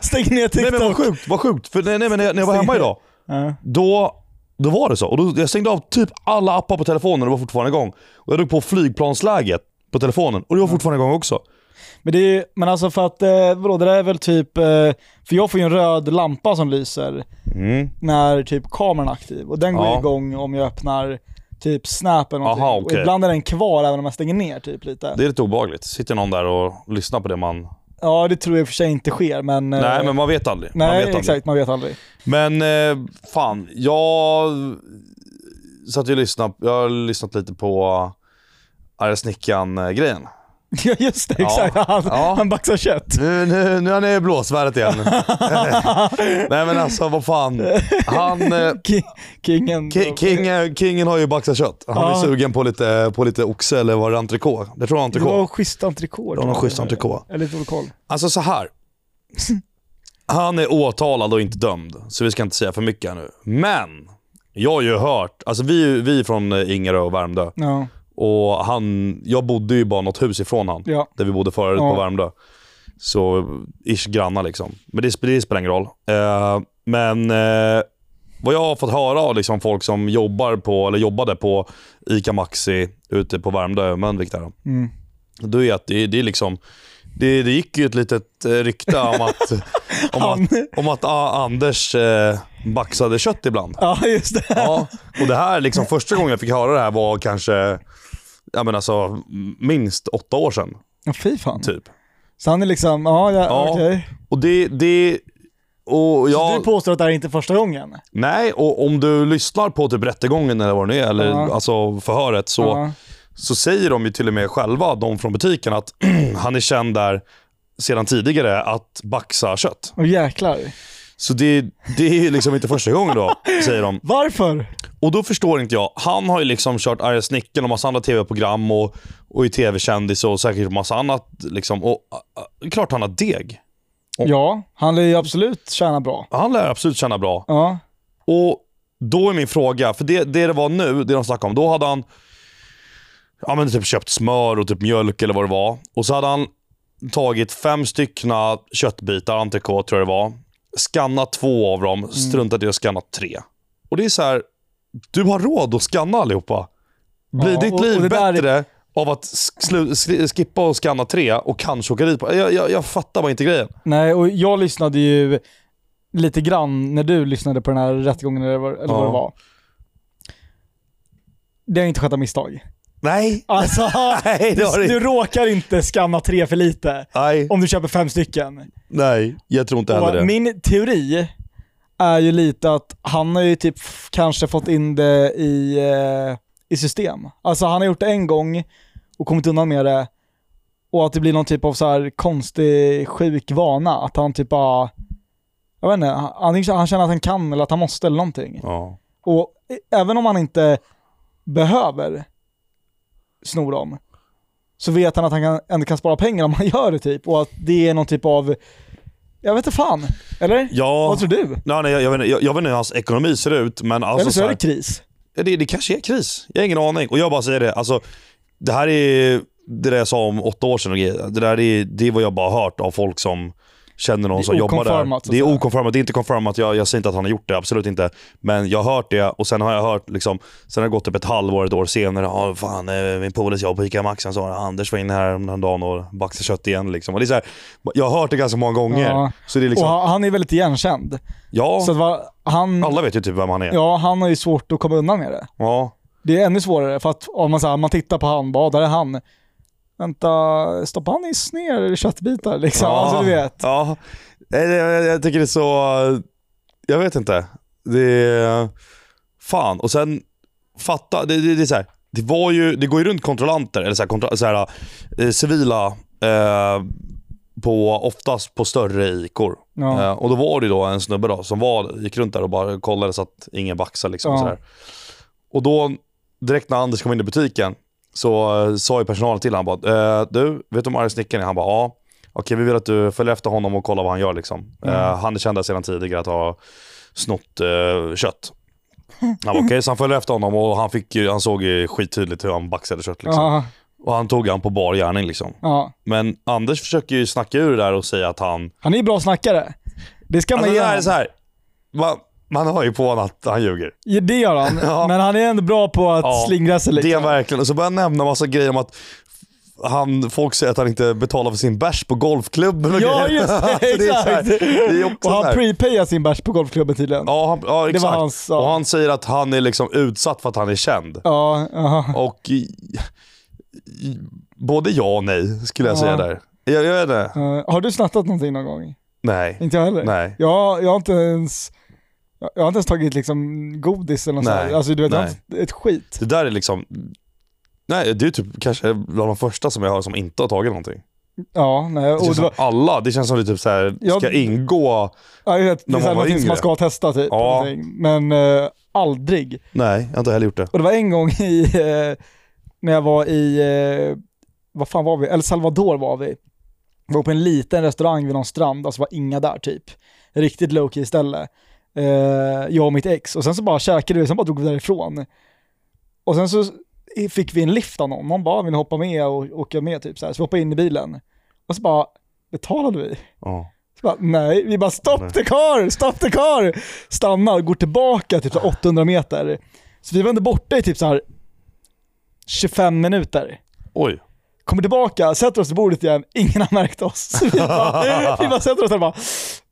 Speaker 1: Stäng ner
Speaker 2: Nej
Speaker 1: TikTok.
Speaker 2: men vad sjukt, vad sjukt. För nej, nej, men när jag, när jag var hemma idag,
Speaker 1: Ja.
Speaker 2: då, då var det så. Och då, jag stängde av typ alla appar på telefonen och det var fortfarande igång. Och jag drog på flygplansläget på telefonen och det
Speaker 1: Mm.
Speaker 2: var fortfarande igång också.
Speaker 1: Men, det är, men alltså för att, eh, vadå, det där är väl typ, eh, för jag får ju en röd lampa som lyser
Speaker 2: Mm.
Speaker 1: när typ kameran är aktiv och den går
Speaker 2: Ja.
Speaker 1: igång om jag öppnar typ Snap eller någonting.
Speaker 2: Aha,
Speaker 1: Och
Speaker 2: okej.
Speaker 1: ibland är den kvar även om jag stänger ner typ lite.
Speaker 2: Det är lite obehagligt. Sitter någon där och lyssnar på det man...
Speaker 1: Ja det tror jag i och för sig inte sker men... eh,
Speaker 2: Nej men man vet aldrig. man
Speaker 1: nej,
Speaker 2: vet aldrig.
Speaker 1: exakt, man vet aldrig.
Speaker 2: Men eh, fan, jag satt ju och lyssnade, jag har lyssnat lite på eh, arga snickaren-grejen.
Speaker 1: Ja just det, exakt. Han,
Speaker 2: Ja.
Speaker 1: han baxar kött.
Speaker 2: Nu, nu, nu är han i blåsvärdet igen. Nej men alltså vad fan. Han, eh,
Speaker 1: Ki- Kingen.
Speaker 2: ki- king, eh, kingen har ju baxat kött. Han är
Speaker 1: Ja.
Speaker 2: sugen på lite, på lite oxe eller var det entrecote? Jag tror det var
Speaker 1: Det var
Speaker 2: entrecote.
Speaker 1: schysst entrecote.
Speaker 2: Det var någon schysst entrecote.
Speaker 1: Eller lite dålig koll.
Speaker 2: Alltså så här. Han är åtalad och inte dömd, så vi ska inte säga för mycket här nu. Men, jag har ju hört, alltså vi, vi är från eh, Ingarö och Värmdö.
Speaker 1: Ja.
Speaker 2: Och han, jag bodde ju bara något hus ifrån han.
Speaker 1: Ja.
Speaker 2: Där vi bodde förut
Speaker 1: Ja.
Speaker 2: på Värmdö. Så ish grannar liksom. Men det, sp- det spelar ingen roll. Eh, men eh, vad jag har fått höra av liksom folk som jobbar på, eller jobbade på ICA Maxi ute på Värmdö, Mölnvik där.
Speaker 1: Mm.
Speaker 2: Då är att det, det är liksom det, det gick ju ett litet eh, rykte om att, om
Speaker 1: Han-
Speaker 2: att, om att ah, Anders eh, baxade kött ibland.
Speaker 1: ja just det.
Speaker 2: Ja, och det här liksom första gången jag fick höra det här var kanske ja men alltså, minst åtta år sedan.
Speaker 1: Ja, Fy fan.
Speaker 2: Typ.
Speaker 1: Så han är liksom, ja, ja,
Speaker 2: Ja.
Speaker 1: okej.
Speaker 2: Och det... det och
Speaker 1: Så
Speaker 2: jag,
Speaker 1: du påstår att det här är inte första gången?
Speaker 2: Nej, och om du lyssnar på typ rättegången eller vad det nu är, eller
Speaker 1: Ja.
Speaker 2: alltså förhöret, så,
Speaker 1: Ja.
Speaker 2: så säger de ju till och med själva, de från butiken, att han är känd där sedan tidigare att baxa kött.
Speaker 1: Och jäklar.
Speaker 2: Så det, det är ju liksom inte första gången då, säger de.
Speaker 1: Varför?
Speaker 2: Och då förstår inte jag. Han har ju liksom kört Arga Snickaren och massa andra tv-program och, och är tv-kändis och säkert massa annat. Liksom. Och, äh, äh, klart han har deg.
Speaker 1: Ja, han lär ju absolut tjäna bra.
Speaker 2: Han lär absolut känna bra.
Speaker 1: Ja.
Speaker 2: Och då är min fråga, för det det, det var nu, det de snackade om, då hade han ja, men typ köpt smör och typ mjölk eller vad det var. Och så hade han tagit fem styckna köttbitar, entrecote tror jag det var. Skannat två av
Speaker 1: Mm.
Speaker 2: dem, struntat i att skanna tre. Och det är så här, du har råd att skanna allihopa. Blir
Speaker 1: Ja,
Speaker 2: ditt
Speaker 1: och-
Speaker 2: liv
Speaker 1: och det där är-
Speaker 2: bättre av att slu, sli- skippa och skanna tre och kanske åka dit på... Jag, jag, jag fattar bara inte grejen.
Speaker 1: Nej, och jag lyssnade ju lite grann när du lyssnade på den här rättegången eller vad, eller vad
Speaker 2: Ja.
Speaker 1: det var. Det har inte skett av misstag.
Speaker 2: Nej.
Speaker 1: Alltså,
Speaker 2: Nej, det har
Speaker 1: du,
Speaker 2: det
Speaker 1: du
Speaker 2: inte.
Speaker 1: råkar inte skanna tre för lite
Speaker 2: Nej,
Speaker 1: om du köper fem stycken.
Speaker 2: nej, jag tror inte heller
Speaker 1: Och
Speaker 2: det.
Speaker 1: min teori är ju lite att han har ju typ f- kanske fått in det i, eh, i system. Alltså han har gjort det en gång och kommit undan med det och att det blir någon typ av så här konstig sjuk vana. Att han typ bara, jag vet inte, han, antingen- han känner att han kan eller att han måste eller någonting.
Speaker 2: Ja.
Speaker 1: Och ä- även om han inte behöver sno dem, så vet han att han kan, ändå kan spara pengar om han gör det typ. Och att det är någon typ av, jag vet inte fan. Eller?
Speaker 2: Ja,
Speaker 1: Vad tror du?
Speaker 2: nej, nej, jag, jag, vet inte, jag, jag vet inte hur hans ekonomi ser ut, men alltså,
Speaker 1: eller så
Speaker 2: så
Speaker 1: är
Speaker 2: här,
Speaker 1: det kris.
Speaker 2: ja, det, det kanske är kris. Jag har ingen aning. Och jag bara säger det, alltså, det här är det där jag sa om åtta år sedan. och grejer. Det där är, det är vad jag bara har hört av folk som känner
Speaker 1: Det
Speaker 2: någon
Speaker 1: är
Speaker 2: som jobbar
Speaker 1: okonformat, så
Speaker 2: där.
Speaker 1: att
Speaker 2: Det är
Speaker 1: säga.
Speaker 2: okonformat. Det är inte konformat. Jag, jag säger inte att han har gjort det, absolut inte. Men jag har hört det och sen har jag hört, liksom, sen har det gått upp ett halvår, ett år senare. Ja, fan, eh, min polare jobb på ICA Maxi, han sa Anders var inne här om den dagen och baxade kött igen. Liksom. Och det är så här, jag har hört det ganska många gånger.
Speaker 1: Ja.
Speaker 2: Så det är liksom,
Speaker 1: Och han, han är väldigt igenkänd.
Speaker 2: ja,
Speaker 1: Så att va, han,
Speaker 2: alla vet ju typ vem han är.
Speaker 1: Mm. ja, han har ju svårt att komma undan med det.
Speaker 2: Ja.
Speaker 1: Det är ännu svårare för att om man, så här, man tittar på han, bara där är han. Vänta, stoppar han i ner köttbitar liksom? Alltså du vet.
Speaker 2: Ja. Nej, det- Jag, jag tycker det är så... Jag vet inte. Det är... Fan. Och sen, fatta. Det, det, det är så här. Det, var ju, det går ju runt kontrollanter, eller så här, kontra, så här, eh, civila, eh, på, oftast på större ikor.
Speaker 1: Ja.
Speaker 2: Eh, och då var det ju då en snubbe då, som var, gick runt där och bara kollade så att ingen baxade. Liksom,
Speaker 1: Ja.
Speaker 2: sådär. Och då, direkt när Anders kom in i butiken, så eh, sa ju personalen till honom, han bara, eh, du, vet du om Arga Snickaren är? Han bara, ja.
Speaker 1: Mm.
Speaker 2: Okej, vi vill att du följer efter honom och kollar vad han gör. Liksom. Eh, han är känd där sedan tidigare att ha snott eh, kött. Han var okej, så han följde efter honom och han, fick, ju- han såg ju skittydligt hur han baxade kött. Liksom.
Speaker 1: Ja,
Speaker 2: Och han tog han på bar gärning liksom.
Speaker 1: ja.
Speaker 2: Men Anders försöker ju snacka ur det där och säga att han...
Speaker 1: Han är ju bra snackare. Det ska man
Speaker 2: Alltså,
Speaker 1: ge
Speaker 2: det här
Speaker 1: honom.
Speaker 2: är så här. Man, man hör ju på honom att han ljuger.
Speaker 1: Ja, Det gör han,
Speaker 2: Ja.
Speaker 1: men han är ändå bra på att
Speaker 2: Ja,
Speaker 1: slingra sig lite.
Speaker 2: Det är verkligen. Och så börjar han nämna massa grejer om att han, folk säger att han inte betalar för sin bärs på golfklubben och
Speaker 1: Ja,
Speaker 2: grejer.
Speaker 1: just det.
Speaker 2: Så det är så här-
Speaker 1: Exakt.
Speaker 2: det är också
Speaker 1: Och
Speaker 2: så
Speaker 1: han
Speaker 2: här.
Speaker 1: prepayar sin bärs på golfklubben tydligen.
Speaker 2: Ja, han, ja exakt.
Speaker 1: hans, ja.
Speaker 2: Och han säger att han är liksom utsatt för att han är känd.
Speaker 1: Ja, ja.
Speaker 2: Och i, i, både ja och nej skulle jag
Speaker 1: Ja.
Speaker 2: säga där. Jag, jag vet inte.
Speaker 1: Eh, har du snattat någonting någon gång?
Speaker 2: Nej.
Speaker 1: Inte jag heller.
Speaker 2: Nej.
Speaker 1: Jag, jag har inte ens jag jag har inte ens tagit liksom godis eller något
Speaker 2: Nej.
Speaker 1: sånt. här. Alltså du vet, jag har
Speaker 2: Nej.
Speaker 1: inte ett skit.
Speaker 2: Det där är liksom... Nej, det är typ kanske bland de första som jag hör som inte har tagit någonting.
Speaker 1: Ja, nej.
Speaker 2: Det
Speaker 1: Och
Speaker 2: känns
Speaker 1: det var,
Speaker 2: som alla, det känns som det typ så här,
Speaker 1: Ja.
Speaker 2: ska ingå...
Speaker 1: ja, jag vet, det
Speaker 2: när
Speaker 1: är
Speaker 2: man
Speaker 1: så här
Speaker 2: var
Speaker 1: någonting som
Speaker 2: yngre.
Speaker 1: man ska testa typ.
Speaker 2: Ja.
Speaker 1: någonting. Men eh, aldrig.
Speaker 2: Nej, jag har inte heller gjort det.
Speaker 1: Och det var en gång i, eh, när jag var i, eh, vad fan var vi? El Salvador var vi. Vi var på en liten restaurang vid någon strand, alltså var inga där typ. Riktigt low-key ställe. Eh, jag och mitt ex. Och sen så bara käkade vi, sen bara drog vi därifrån. Och sen så fick vi en lift av någon. Någon bara, "Ah, vill ni hoppa med och åka med typ så här. Så vi hoppade in i bilen. Och så bara, betalade vi?
Speaker 2: Ja.
Speaker 1: Så Bara, nej, vi bara stopp the car, stopp the car! Stannar, går tillbaka typ så här 800 meter. Så vi var ändå borta i typ så här 25 minuter.
Speaker 2: Oj.
Speaker 1: Kommer tillbaka, sätter oss vid bordet igen, ingen har märkt oss. Så vi, bara, vi bara sätter oss där och bara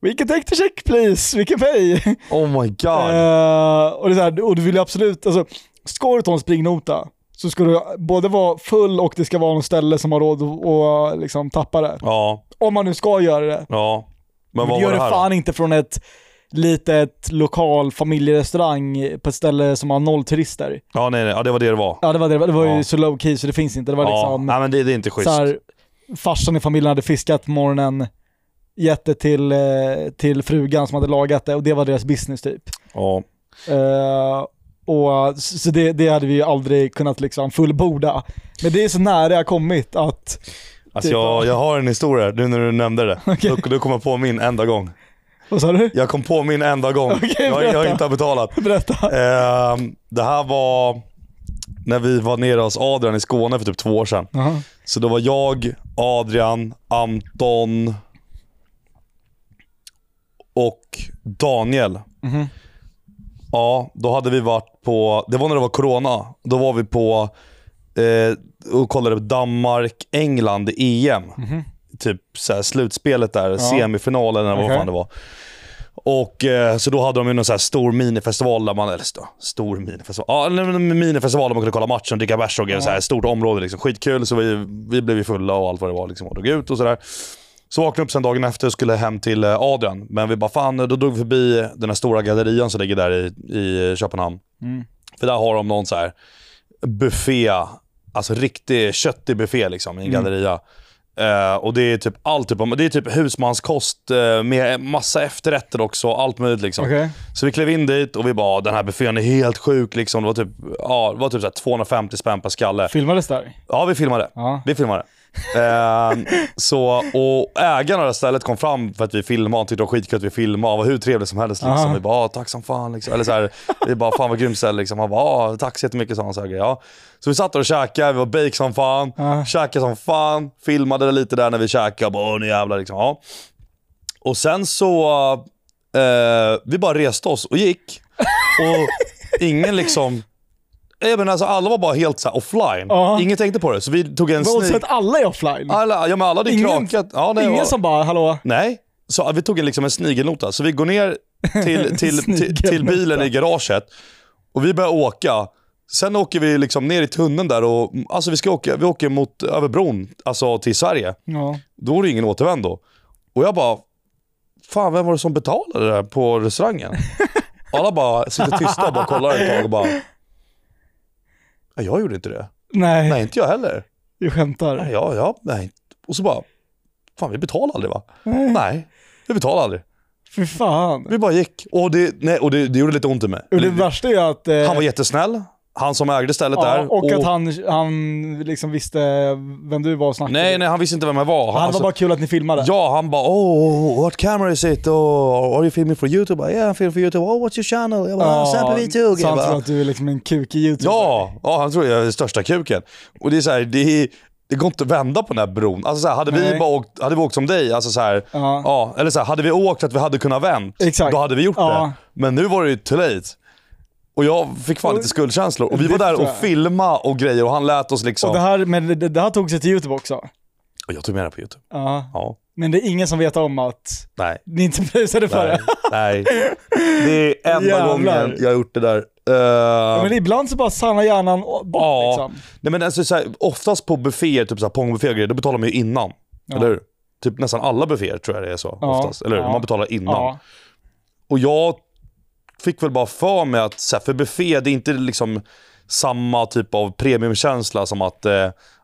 Speaker 1: “We can take the check please, we can pay”.
Speaker 2: Oh my god.
Speaker 1: Eh, och, det är så här, och du vill ju absolut, alltså ska du ta en springnota så ska du både vara full och det ska vara något ställe som har råd att att liksom, tappa det.
Speaker 2: Ja,
Speaker 1: Om man nu ska göra det.
Speaker 2: ja. Men
Speaker 1: Men
Speaker 2: vad
Speaker 1: det gör
Speaker 2: var det
Speaker 1: det
Speaker 2: här
Speaker 1: fan inte från ett litet lokal familjerestaurang på ett ställe som har noll turister.
Speaker 2: då? Ja, nej, nej. Ja, det var det det var.
Speaker 1: Ja det var det, det var ju
Speaker 2: Ja.
Speaker 1: så low key så det finns inte. Det var
Speaker 2: Ja.
Speaker 1: liksom
Speaker 2: Nej, men det, det är inte schysst.
Speaker 1: så här, farsan i familjen hade fiskat på morgonen, gett det till, eh, till frugan som hade lagat det och det var deras business typ.
Speaker 2: Ja.
Speaker 1: Eh, och, så så det, det hade vi ju aldrig kunnat liksom fullborda. Men det är så nära jag kommit att,
Speaker 2: Alltså
Speaker 1: Typ,
Speaker 2: jag,
Speaker 1: ja.
Speaker 2: jag har en historia nu när du nämnde det.
Speaker 1: Okej.
Speaker 2: Då, då kom jag på min enda gång.
Speaker 1: vad sa du?
Speaker 2: Jag kom på min enda gång.
Speaker 1: Okej,
Speaker 2: jag, jag
Speaker 1: berätta.
Speaker 2: inte har betalat.
Speaker 1: Berätta.
Speaker 2: Ehm, det här var när vi var nere hos Adrian i Skåne för typ två år sedan.
Speaker 1: Jaha.
Speaker 2: Så då var jag, Adrian, Anton och Daniel.
Speaker 1: Mhm.
Speaker 2: Ja, då hade vi varit på, det var när det var corona. Då var vi på eh, och kollade på Danmark-England i EM. Typ så här, slutspelet där, semifinalen eller vad
Speaker 1: Okej.
Speaker 2: fan det var. Och eh, Så då hade de ju någon så här stor minifestival där man, eller st- stor minifestival, ja eller en minifestival där man kunde kolla matchen och dricka bärs och grejer. så här, stort område liksom. Skitkul, så vi, vi blev ju fulla och allt vad det var liksom och drog ut och sådär. Så vaknade jag upp sen dagen efter och skulle hem till eh, Adrian. Men vi bara fan, då drog vi förbi den här stora gallerian som ligger där i, i Köpenhamn.
Speaker 1: Mm.
Speaker 2: För där har de någon så här buffé, alltså riktig köttig buffé liksom i
Speaker 1: Mm.
Speaker 2: en galleria. Eh, och det är typ allt typ, av- det är typ husmanskost eh, med massa efterrätter också, allt möjligt liksom.
Speaker 1: Okej.
Speaker 2: Så vi klev in dit och vi bara, den här buffén är helt sjuk liksom. Det var typ, ja, det var typ så här 250 spänn per skalle.
Speaker 1: Filmades där?
Speaker 2: Ja, vi filmade.
Speaker 1: Ja.
Speaker 2: Vi filmade. Ehm, så, och ägarna av det här stället kom fram för att vi filmade. Han tyckte det var skitkul att vi filmade. Han var hur trevlig som helst. Liksom.
Speaker 1: Aha.
Speaker 2: Vi bara, "Ah, tack som fan. Liksom. Eller så här, vi bara, fan vad grymt ställe. Liksom. Han bara, "Ah, tack så jättemycket. sa han Så, här, grejer. ja. så vi satt där och käkade. Vi var bake som fan.
Speaker 1: Ja.
Speaker 2: Käkade som fan. Filmade lite där när vi käkade. Jag bara, "Åh, nu jävlar. Liksom. Ja. Och sen så, eh, vi bara reste oss och gick. Och ingen liksom... Jag menar, alltså, alla var bara helt så här offline.
Speaker 1: Ja.
Speaker 2: Ingen tänkte på det. Så vi tog en
Speaker 1: Och så
Speaker 2: sneak...
Speaker 1: att alla är offline?
Speaker 2: Alla, ja, men alla hade ju
Speaker 1: Ingen-
Speaker 2: krakat. Ja, nej,
Speaker 1: Ingen
Speaker 2: och-
Speaker 1: som bara, hallå?
Speaker 2: Nej, så vi tog en, liksom en snigelnota. Så vi går ner till, till, till, till
Speaker 1: Snigelnota.
Speaker 2: bilen i garaget och vi börjar åka. Sen åker vi liksom ner i tunneln där och alltså vi ska åka, vi åker mot, över bron, alltså till Sverige.
Speaker 1: Ja.
Speaker 2: Då är det ingen återvändo. Och jag bara, fan vem var det som betalade det här på restaurangen? Alla bara sitter tysta och bara kollar ett tag och bara, "Ja, jag gjorde inte det.
Speaker 1: Nej,
Speaker 2: Nej, inte jag heller.
Speaker 1: du skämtar.
Speaker 2: Nej, ja, ja, nej. Och så bara, fan vi betalar aldrig va?
Speaker 1: Nej.
Speaker 2: Nej, vi betalar aldrig.
Speaker 1: Fy fan.
Speaker 2: Vi bara gick. Och det, nej, och det, det gjorde lite ont i mig.
Speaker 1: Och det värsta är att... Eh,
Speaker 2: Han var jättesnäll. Han som ägde stället
Speaker 1: Ja,
Speaker 2: där.
Speaker 1: och, att han, han liksom visste vem du var och snackade.
Speaker 2: Nej, nej, han visste inte vem jag var.
Speaker 1: Han
Speaker 2: Alltså-
Speaker 1: var bara kul att ni filmade.
Speaker 2: Ja, han bara oh, what camera is it? Oh, are you filming for YouTube? Ja, yeah, I'm filming for YouTube. Oh, what's your channel? Jag bara,
Speaker 1: Ja,
Speaker 2: ah, Sampe V2.
Speaker 1: Så
Speaker 2: Jag
Speaker 1: han tror
Speaker 2: bara,
Speaker 1: att du är liksom en kukig youtuber.
Speaker 2: ja, ja, han tror jag är den största kuken. Och det är så här, det, är- det går inte att vända på den här bron. Alltså så här, hade, vi
Speaker 1: Nej.
Speaker 2: bara åkt, hade vi åkt som dig, alltså så här,
Speaker 1: Ja.
Speaker 2: ja, eller så här, hade vi åkt att vi hade kunnat vänt,
Speaker 1: Exakt.
Speaker 2: då hade vi gjort
Speaker 1: Ja.
Speaker 2: det. Men nu var det ju too late. Och jag fick fan lite skuldkänslor. Och vi
Speaker 1: Det
Speaker 2: var där
Speaker 1: tror
Speaker 2: och
Speaker 1: jag.
Speaker 2: filmade och grejer och han lät oss liksom...
Speaker 1: Och det här, men det, det här tog sig till YouTube också.
Speaker 2: Och jag tog med det på YouTube.
Speaker 1: Ja.
Speaker 2: Ja.
Speaker 1: Men det är ingen som vet om att
Speaker 2: Nej.
Speaker 1: ni inte pröjsade för
Speaker 2: Nej,
Speaker 1: det.
Speaker 2: nej. Det är enda
Speaker 1: Jävlar.
Speaker 2: gången jag har gjort det där. Eh,
Speaker 1: Ja, Men ibland så bara sanna hjärnan och- bort
Speaker 2: Ja.
Speaker 1: liksom.
Speaker 2: nej, men alltså, så här, oftast på bufféer, typ så här, pongbufféer och grejer, då betalar man ju innan. Eller hur? Typ nästan alla bufféer tror jag det är så.
Speaker 1: Ja.
Speaker 2: Oftast. Eller hur?
Speaker 1: Ja.
Speaker 2: Man betalar innan.
Speaker 1: Ja.
Speaker 2: Och jag fick väl bara för mig att så här, för buffé, det är inte liksom samma typ av premiumkänsla som att eh,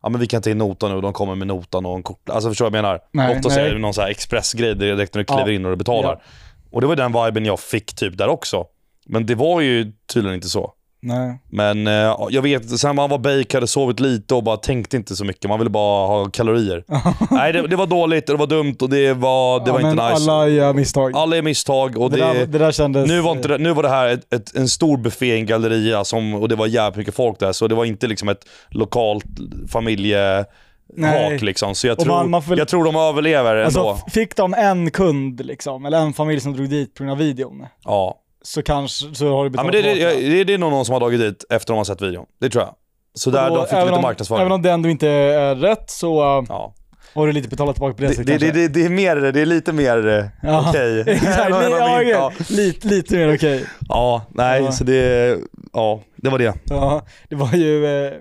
Speaker 2: ja, men vi kan ta in notan nu, de kommer med notan och en kort. Alltså förstår du vad jag menar?
Speaker 1: Nej,
Speaker 2: Oftast
Speaker 1: nej.
Speaker 2: är det någon så här expressgrej direkt när du kliver
Speaker 1: Ja.
Speaker 2: in och du betalar.
Speaker 1: Ja.
Speaker 2: Och det var den viben jag fick typ där också. Men det var ju tydligen inte så.
Speaker 1: Nej.
Speaker 2: Men eh, ja, jag vet inte, sen man var bake, hade sovit lite och bara tänkte inte så mycket. Man ville bara ha kalorier. Nej, det, det var dåligt och det var dumt och det var, det var
Speaker 1: ja,
Speaker 2: inte
Speaker 1: men
Speaker 2: nice. Alla,
Speaker 1: alla gör misstag.
Speaker 2: är misstag och
Speaker 1: det,
Speaker 2: det,
Speaker 1: där, det där kändes...
Speaker 2: nu, var inte det, nu var det här ett, ett, en stor buffé i en galleria som, och det var jävligt mycket folk där. Så det var inte liksom ett lokalt
Speaker 1: Nej.
Speaker 2: familjehak liksom. Så jag
Speaker 1: Och
Speaker 2: tror,
Speaker 1: man- man får väl-
Speaker 2: jag tror de överlever ändå.
Speaker 1: Alltså, f- fick de en kund liksom, eller en familj som drog dit på grund av videon,
Speaker 2: ja.
Speaker 1: så kanske, så har du
Speaker 2: Ja,
Speaker 1: betalat
Speaker 2: men det, det,
Speaker 1: tillbaka.
Speaker 2: det, det är nog någon som har dragit dit efter de har sett videon. Det tror jag. Så där,
Speaker 1: Och
Speaker 2: de fick
Speaker 1: även
Speaker 2: lite
Speaker 1: om-
Speaker 2: marknadsföring.
Speaker 1: Även om det ändå inte är rätt så uh,
Speaker 2: ja.
Speaker 1: har du lite betalat tillbaka på det
Speaker 2: Det,
Speaker 1: sättet
Speaker 2: det, det,
Speaker 1: kanske.
Speaker 2: det, det är mer, det är lite mer eh,
Speaker 1: Ja.
Speaker 2: okej.
Speaker 1: Exakt,
Speaker 2: Än vad
Speaker 1: li-
Speaker 2: man
Speaker 1: ja,
Speaker 2: minns, ja.
Speaker 1: okej. lite, lite mer okej.
Speaker 2: ja, nej,
Speaker 1: Ja.
Speaker 2: så det, ja, det var det.
Speaker 1: Ja, det var ju, eh,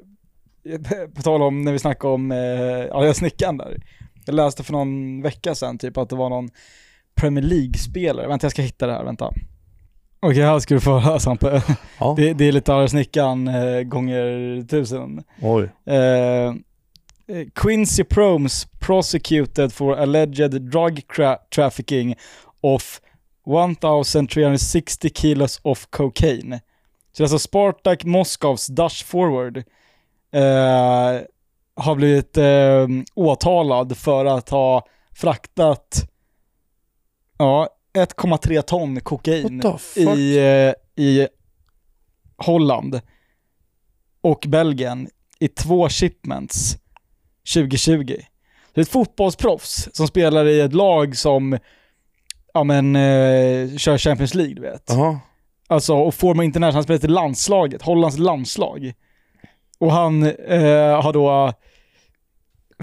Speaker 1: på tal om när vi snackade om eh, arga snickaren där. Jag läste för någon vecka sedan typ att det var någon Premier League-spelare, vänta jag ska hitta det här, vänta. Okej, här ska du få höra Sampe.
Speaker 2: Ja.
Speaker 1: Det, det är lite arga snickaren eh, gånger tusen.
Speaker 2: Oj.
Speaker 1: Eh, Quincy Promes prosecuted for alleged drug tra- trafficking of 1360 kilos of cocaine. Så alltså Spartak Moskavs Dutch forward eh, har blivit eh, åtalad för att ha fraktat ja, 1,3 ton kokain
Speaker 2: What the fuck?
Speaker 1: i, eh, i Holland och Belgien i två shipments 2020. Det är ett fotbollsproffs som spelar i ett lag som ja, men, eh, kör Champions League, du vet.
Speaker 2: Jaha.
Speaker 1: Alltså, och får man international, han spelar i landslaget, Hollands landslag. Och han eh, har då eh,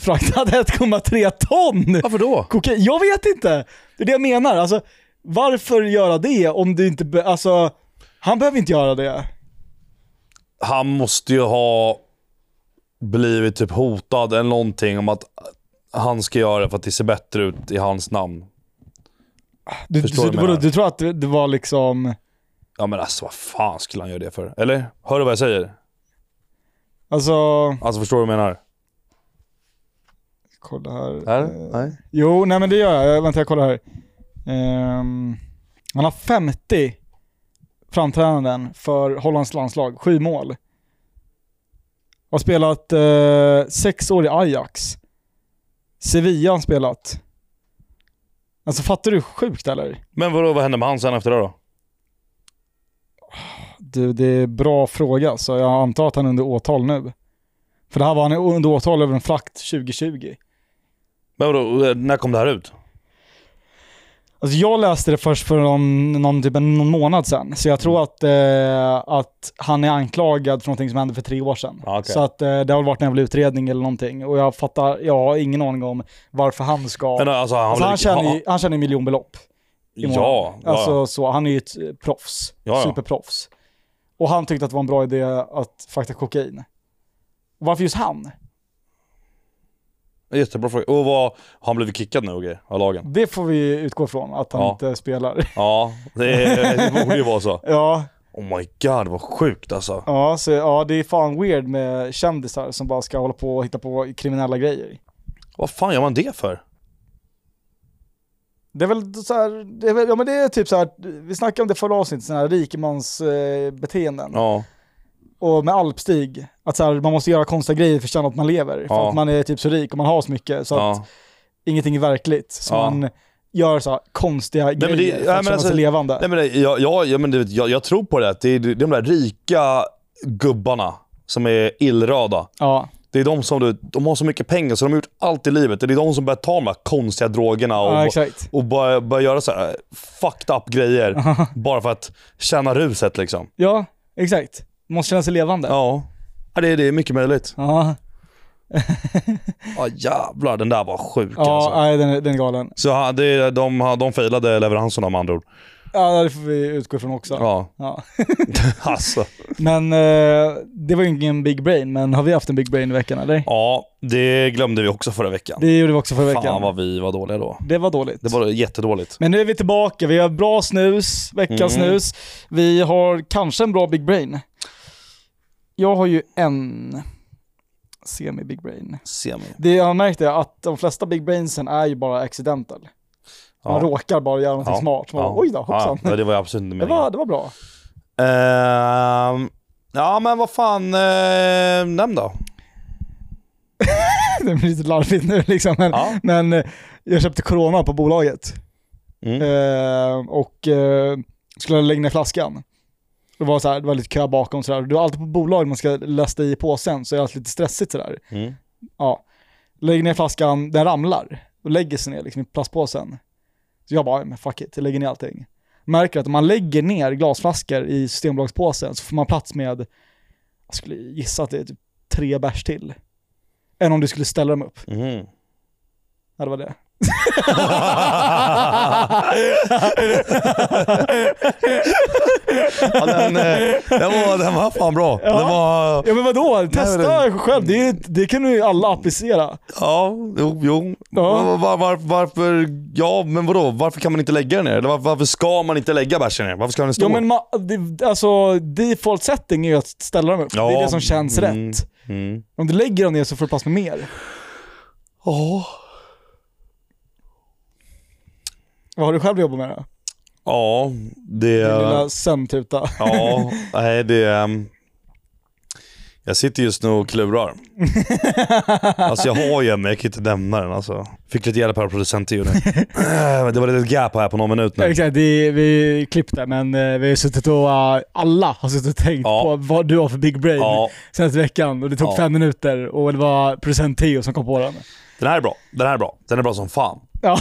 Speaker 1: fraktat 1,3 ton
Speaker 2: Varför då?
Speaker 1: kokain. Jag vet inte! Det är det jag menar. Alltså, varför göra det om du inte... Be- alltså, han behöver inte göra det.
Speaker 2: Han måste ju ha blivit typ hotad eller någonting om att han ska göra det för att det ser bättre ut i hans namn.
Speaker 1: Du,
Speaker 2: Förstår
Speaker 1: du,
Speaker 2: vad jag
Speaker 1: du,
Speaker 2: menar.
Speaker 1: du tror att det det var liksom...
Speaker 2: Ja men alltså vad fan skulle han göra det för? Eller? Hör du vad jag säger?
Speaker 1: Alltså,
Speaker 2: Alltså förstår du vad jag menar?
Speaker 1: kolla här.
Speaker 2: Nej.
Speaker 1: Jo, nej men det gör jag. Vänta, jag kollar här. Ehm, han har 50 framträdanden för Hollands landslag, sju mål. Har spelat eh, sex år i Ajax. Sevilla har han spelat. Alltså fattar du hur sjukt eller?
Speaker 2: Men vadå, vad hände med han sen efter det då?
Speaker 1: Du, det är bra fråga så jag antar att han är under åtal nu. För det här var han under åtal över en frakt 2020.
Speaker 2: Men vadå, eh, när kom det här ut?
Speaker 1: Alltså jag läste det först för någon, någon, typ en- någon månad sedan, så jag
Speaker 2: Mm.
Speaker 1: tror att, eh, att han är anklagad för någonting som hände för tre år sedan.
Speaker 2: Ja, Ah, okej.
Speaker 1: Så att eh, det har väl varit en jävla utredning eller någonting. Och jag fattar, jag har ingen aning om varför han ska...
Speaker 2: Men alltså han,
Speaker 1: alltså, han, tjänar
Speaker 2: han,
Speaker 1: ju, han tjänar ju miljonbelopp. i månaden.
Speaker 2: Ja, ja.
Speaker 1: Alltså så, han är ju ett eh, proffs.
Speaker 2: Ja, ja.
Speaker 1: Superproffs. Och han tyckte att det var en bra idé att frakta kokain. Och varför just han?
Speaker 2: Jättebra fråga. Och vad, har han blivit kickad nu och grejer, av lagen?
Speaker 1: Det får vi utgå från, att han
Speaker 2: Ja.
Speaker 1: inte spelar.
Speaker 2: Ja, det, det borde ju vara så.
Speaker 1: ja,
Speaker 2: Oh my god, vad sjukt alltså.
Speaker 1: Ja, så, ja, det är fan weird med kändisar som bara ska hålla på och hitta på kriminella grejer.
Speaker 2: Vad fan gör man det för?
Speaker 1: Det är väl så här, det är väl, ja men det är typ så här, vi snackade om det förra avsnittet, sådana här rikemans eh, beteenden.
Speaker 2: Ja.
Speaker 1: och med alpstig, att så här, man måste göra konstiga grejer för att känna att man lever. För
Speaker 2: Ja.
Speaker 1: att man är typ så rik och man har så mycket så att
Speaker 2: Ja.
Speaker 1: ingenting är verkligt. Så
Speaker 2: Ja.
Speaker 1: man gör så här, konstiga
Speaker 2: det-
Speaker 1: grejer
Speaker 2: nej,
Speaker 1: för att
Speaker 2: men
Speaker 1: känna
Speaker 2: alltså-
Speaker 1: sig levande.
Speaker 2: Nej, men det- jag, jag, jag, men du vet, jag, jag tror på det. att Det är det är de där rika gubbarna som är illröda.
Speaker 1: ja.
Speaker 2: Det är de som du, vet, de har så mycket pengar så de har gjort allt i livet. Det är de som börjar ta de här konstiga drogerna och,
Speaker 1: ja, exakt.
Speaker 2: och börjar, börjar göra så här eh, fucked up grejer bara för att tjäna ruset liksom.
Speaker 1: Ja, exakt. Man måste känna sig levande.
Speaker 2: Ja, ja det, det är mycket möjligt.
Speaker 1: Ja,
Speaker 2: Ja jävlar, den där var sjuk
Speaker 1: ja
Speaker 2: alltså.
Speaker 1: nej, den, är- den är galen.
Speaker 2: Så han- det, de, de failade leveranserna med andra ord.
Speaker 1: Ja, det får vi utgå från också.
Speaker 2: Ja,
Speaker 1: Ja.
Speaker 2: alltså.
Speaker 1: Men eh, det var ju ingen big brain, men har vi haft en big brain i veckan eller?
Speaker 2: Ja, det glömde vi också förra veckan.
Speaker 1: Det gjorde vi också förra veckan.
Speaker 2: Fan vad vi var dåliga då.
Speaker 1: Det var dåligt.
Speaker 2: Det var jättedåligt.
Speaker 1: Men nu är vi tillbaka, vi har bra snus, veckans
Speaker 2: Mm.
Speaker 1: snus. Vi har kanske en bra big brain. Jag har ju en semi-big brain.
Speaker 2: Semi.
Speaker 1: Det jag har märkt är att de flesta big brainsen är ju bara accidental. Man
Speaker 2: Ja.
Speaker 1: råkar bara göra någonting
Speaker 2: Ja.
Speaker 1: smart. Man
Speaker 2: Ja.
Speaker 1: bara, Oj då, hoppsan.
Speaker 2: Ja, det var ju absolut inte
Speaker 1: det,
Speaker 2: meningen.
Speaker 1: var, det var bra.
Speaker 2: Ehm, ja, men vad fan. Uh, nämn då.
Speaker 1: det blir lite larvigt nu liksom. Men,
Speaker 2: Ja.
Speaker 1: men eh, jag köpte corona på bolaget
Speaker 2: Mm.
Speaker 1: eh, och eh, skulle lägga ner flaskan. Det var, så här, det var lite kö bakom sådär. Det var alltid på bolag man ska lasta i påsen så är det alltid lite stressigt sådär.
Speaker 2: Mm.
Speaker 1: Ja. Lägger ner flaskan, den ramlar och lägger sig ner liksom, i plastpåsen. Så jag bara, "Ja, men fuck it, jag lägger ner allting. Märker att om man lägger ner glasflaskor i Systembolagspåsen så får man plats med, jag skulle gissa att det är typ tre bärs till. Än om du skulle ställa dem upp.
Speaker 2: Mm.
Speaker 1: Ja, det var det.
Speaker 2: ja, den, eh, den, var, den var fan bra. Den var,
Speaker 1: Ja men vadå? Testa
Speaker 2: Nej, Mm.
Speaker 1: själv, det, är- det kan ju alla applicera.
Speaker 2: ja, jo, jo.
Speaker 1: Ja.
Speaker 2: Var, var, var, varför, ja men vadå, varför kan man inte lägga den ner? Eller var, varför ska man inte lägga bärsen ner? Varför ska den stå?
Speaker 1: Ja men ma, det, alltså default setting är ju att ställa dem upp. Det är
Speaker 2: Ja.
Speaker 1: det som känns
Speaker 2: Mm.
Speaker 1: rätt.
Speaker 2: Mm.
Speaker 1: Om du lägger dem ner så får du plats med mer.
Speaker 2: Ja.
Speaker 1: Vad har du själv jobbat med då?
Speaker 2: Ja, det...
Speaker 1: Din lilla sömntuta.
Speaker 2: Ja, nej det... ehm, Jag sitter just nu och klurar. Alltså jag har ju en men jag kan inte nämna den alltså. Fick lite hjälp här av producenten ju nu. Eh, Det var lite gap här på någon minut nu.
Speaker 1: Exakt, det, vi klippte men eh, vi har suttit och eh, alla har suttit och tänkt
Speaker 2: Ja.
Speaker 1: på vad du har för big brain
Speaker 2: Ja,
Speaker 1: senaste veckan och det tog
Speaker 2: Ja.
Speaker 1: fem minuter och det var producent Theo som kom på den.
Speaker 2: den här är bra. Den här är bra. Den är bra som fan.
Speaker 1: Ja.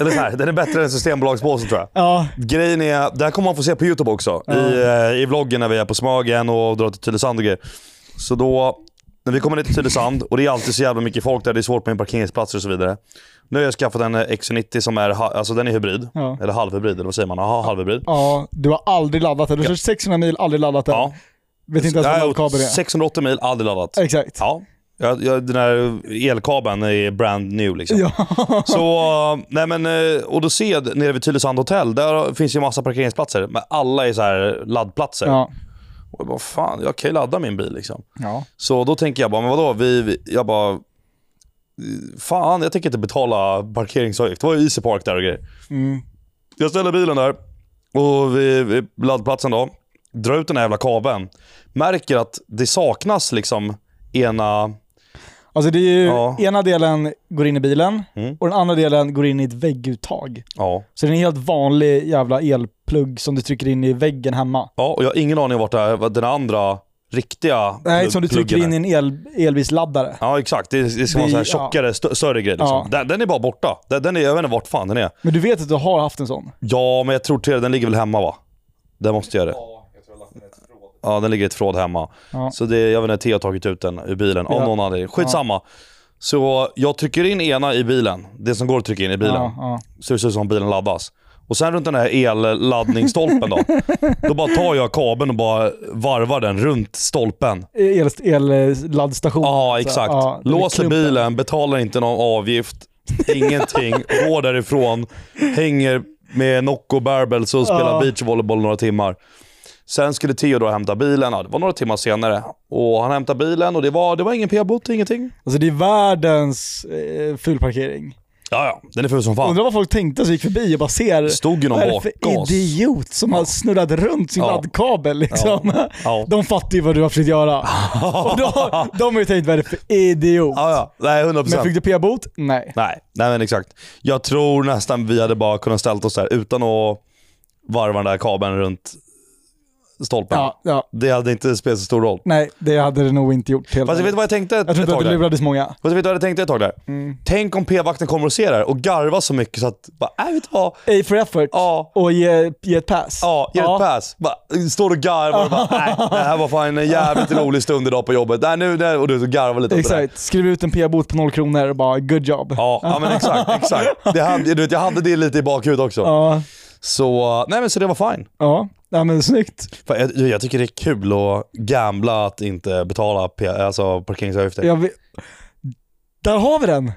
Speaker 2: Eller så här, den är bättre än Systembolagspåsen tror jag.
Speaker 1: Ja,
Speaker 2: Grejen är, det här kommer man få se på YouTube också. I, eh, I vloggen när vi är på Smögen och drar till Tylösand och grejer. Så då, när vi kommer ner till Tylösand och det är alltid så jävla mycket folk där. Det är svårt med parkeringsplatser och så vidare. Nu har jag skaffat en eh, XC90 som är, ha- alltså den är hybrid.
Speaker 1: Ja.
Speaker 2: Eller halvhybrid, eller vad säger man? Jaha, halvhybrid.
Speaker 1: ja, du har aldrig laddat den. Du har kört 600 mil, aldrig laddat den.
Speaker 2: Ja.
Speaker 1: Vet inte ens
Speaker 2: Jag
Speaker 1: vad
Speaker 2: har
Speaker 1: laddkabel
Speaker 2: gjort
Speaker 1: är.
Speaker 2: 680 mil, aldrig laddat.
Speaker 1: Exakt.
Speaker 2: Ja. Jag, jag, den här elkabeln är brand new liksom.
Speaker 1: Ja.
Speaker 2: Så, nej men, eh, och då ser jag nere vid Tylösand hotell, där finns ju massa parkeringsplatser. Men alla är så här laddplatser.
Speaker 1: Ja.
Speaker 2: Och jag bara, fan, jag kan ju ladda min bil liksom.
Speaker 1: ja.
Speaker 2: Så då tänker jag bara, men vadå? Vi, vi, jag bara, fan jag tänker inte betala parkeringsavgift. Det var ju Easy Park där och grejer.
Speaker 1: Mm.
Speaker 2: Jag ställer bilen där och vid, vid laddplatsen då. Drar ut den här jävla kabeln. Märker att det saknas liksom ena...
Speaker 1: Alltså det är ju,
Speaker 2: Ja.
Speaker 1: ena delen går in i bilen
Speaker 2: Mm.
Speaker 1: och den andra delen går in i ett vägguttag.
Speaker 2: Ja.
Speaker 1: Så det är en helt vanlig jävla elplugg som du trycker in i väggen hemma.
Speaker 2: ja och jag har ingen aning om vart det här, vad den andra riktiga
Speaker 1: Nej,
Speaker 2: plugg-
Speaker 1: som du trycker
Speaker 2: pluggen är.
Speaker 1: in i en el, elbilsladdare.
Speaker 2: Ja exakt, det, det ska vara
Speaker 1: Det-
Speaker 2: så här tjockare, stö- större grej liksom.
Speaker 1: Ja.
Speaker 2: den, den är bara borta. Den, den är, jag vet inte vart fan den är.
Speaker 1: Men du vet att du har haft en sån?
Speaker 2: Ja, men jag tror till den ligger väl hemma va? Den måste göra det.
Speaker 3: Ja, jag tror jag har lagt den i ett förråd.
Speaker 2: Ja, den ligger i ett förråd hemma.
Speaker 1: Ja.
Speaker 2: Så det, jag vet inte, Theo har tagit ut den ur bilen av
Speaker 1: Ja.
Speaker 2: någon anledning. Skitsamma. Så jag trycker in ena i bilen, det som går att trycka in i bilen.
Speaker 1: Ja, ja.
Speaker 2: Så det ser ut som bilen laddas. Och sen runt den här elladdningsstolpen då. då bara tar jag kabeln och bara varvar den runt stolpen.
Speaker 1: El, eh, elladdstationen.
Speaker 2: Ja, exakt. Låser bilen, betalar inte någon avgift, ingenting, går därifrån, hänger med Nocco Barbells och spelar
Speaker 1: Ja.
Speaker 2: beachvolleyboll några timmar. Sen skulle Theo då hämta bilen, ja, det var några timmar senare. Och han hämtade bilen och det var, det var ingen p-bot, ingenting.
Speaker 1: Alltså det är världens eh, fulparkering.
Speaker 2: Ja, ja. Den är ful som fan.
Speaker 1: Undrar vad folk tänkte som gick förbi och bara ser
Speaker 2: Det stod ju någon
Speaker 1: vad är det
Speaker 2: bakom
Speaker 1: för
Speaker 2: oss.
Speaker 1: idiot som har snurrat runt sin
Speaker 2: Ja.
Speaker 1: laddkabel liksom.
Speaker 2: Ja.
Speaker 1: De fattar ju vad du har försökt göra. Och då, de har ju tänkt, vad är det för idiot?
Speaker 2: Ja, ja. Nej, 100%.
Speaker 1: Men fick du p-bot? Nej.
Speaker 2: Nej, nej men exakt. Jag tror nästan vi hade bara kunnat ställt oss där utan att varva den där kabeln runt stolpen.
Speaker 1: Ja, ja.
Speaker 2: Det hade inte spelat så stor roll.
Speaker 1: Nej, det hade det nog inte gjort. Helt
Speaker 2: Fast jag vet
Speaker 1: ärligt.
Speaker 2: vad jag tänkte ett,
Speaker 1: jag tror
Speaker 2: ett
Speaker 1: inte att Mm.
Speaker 2: tag
Speaker 1: det
Speaker 2: där.
Speaker 1: lurades många.
Speaker 2: Fast jag vet vad jag tänkte ett tag där. Tänk om p-vakten kommer och ser det här och garvar så mycket så att, bara, äh, vet du vad?
Speaker 1: A for effort
Speaker 2: Ja.
Speaker 1: och ge, ge ett pass.
Speaker 2: Ja, ger ett pass. Bara, eh, står och garvar och bara, nej, det här var fan en jävligt rolig stund idag på jobbet. Nej, nu, nej. Och du så garvar lite åt det där.
Speaker 1: Exakt, skriv ut en p-bot på noll kronor och bara good job.
Speaker 2: Ja, ja men exakt. exakt. Det hade, du vet, jag hade det lite i bakhuvudet också.
Speaker 1: Ja,
Speaker 2: Så, nej men så det var fine.
Speaker 1: ja. ja men snyggt.
Speaker 2: Fan, jag, jag tycker det är kul att gambla att inte betala P- alltså parkeringsavgifter.
Speaker 1: Jag vet- Där har vi den!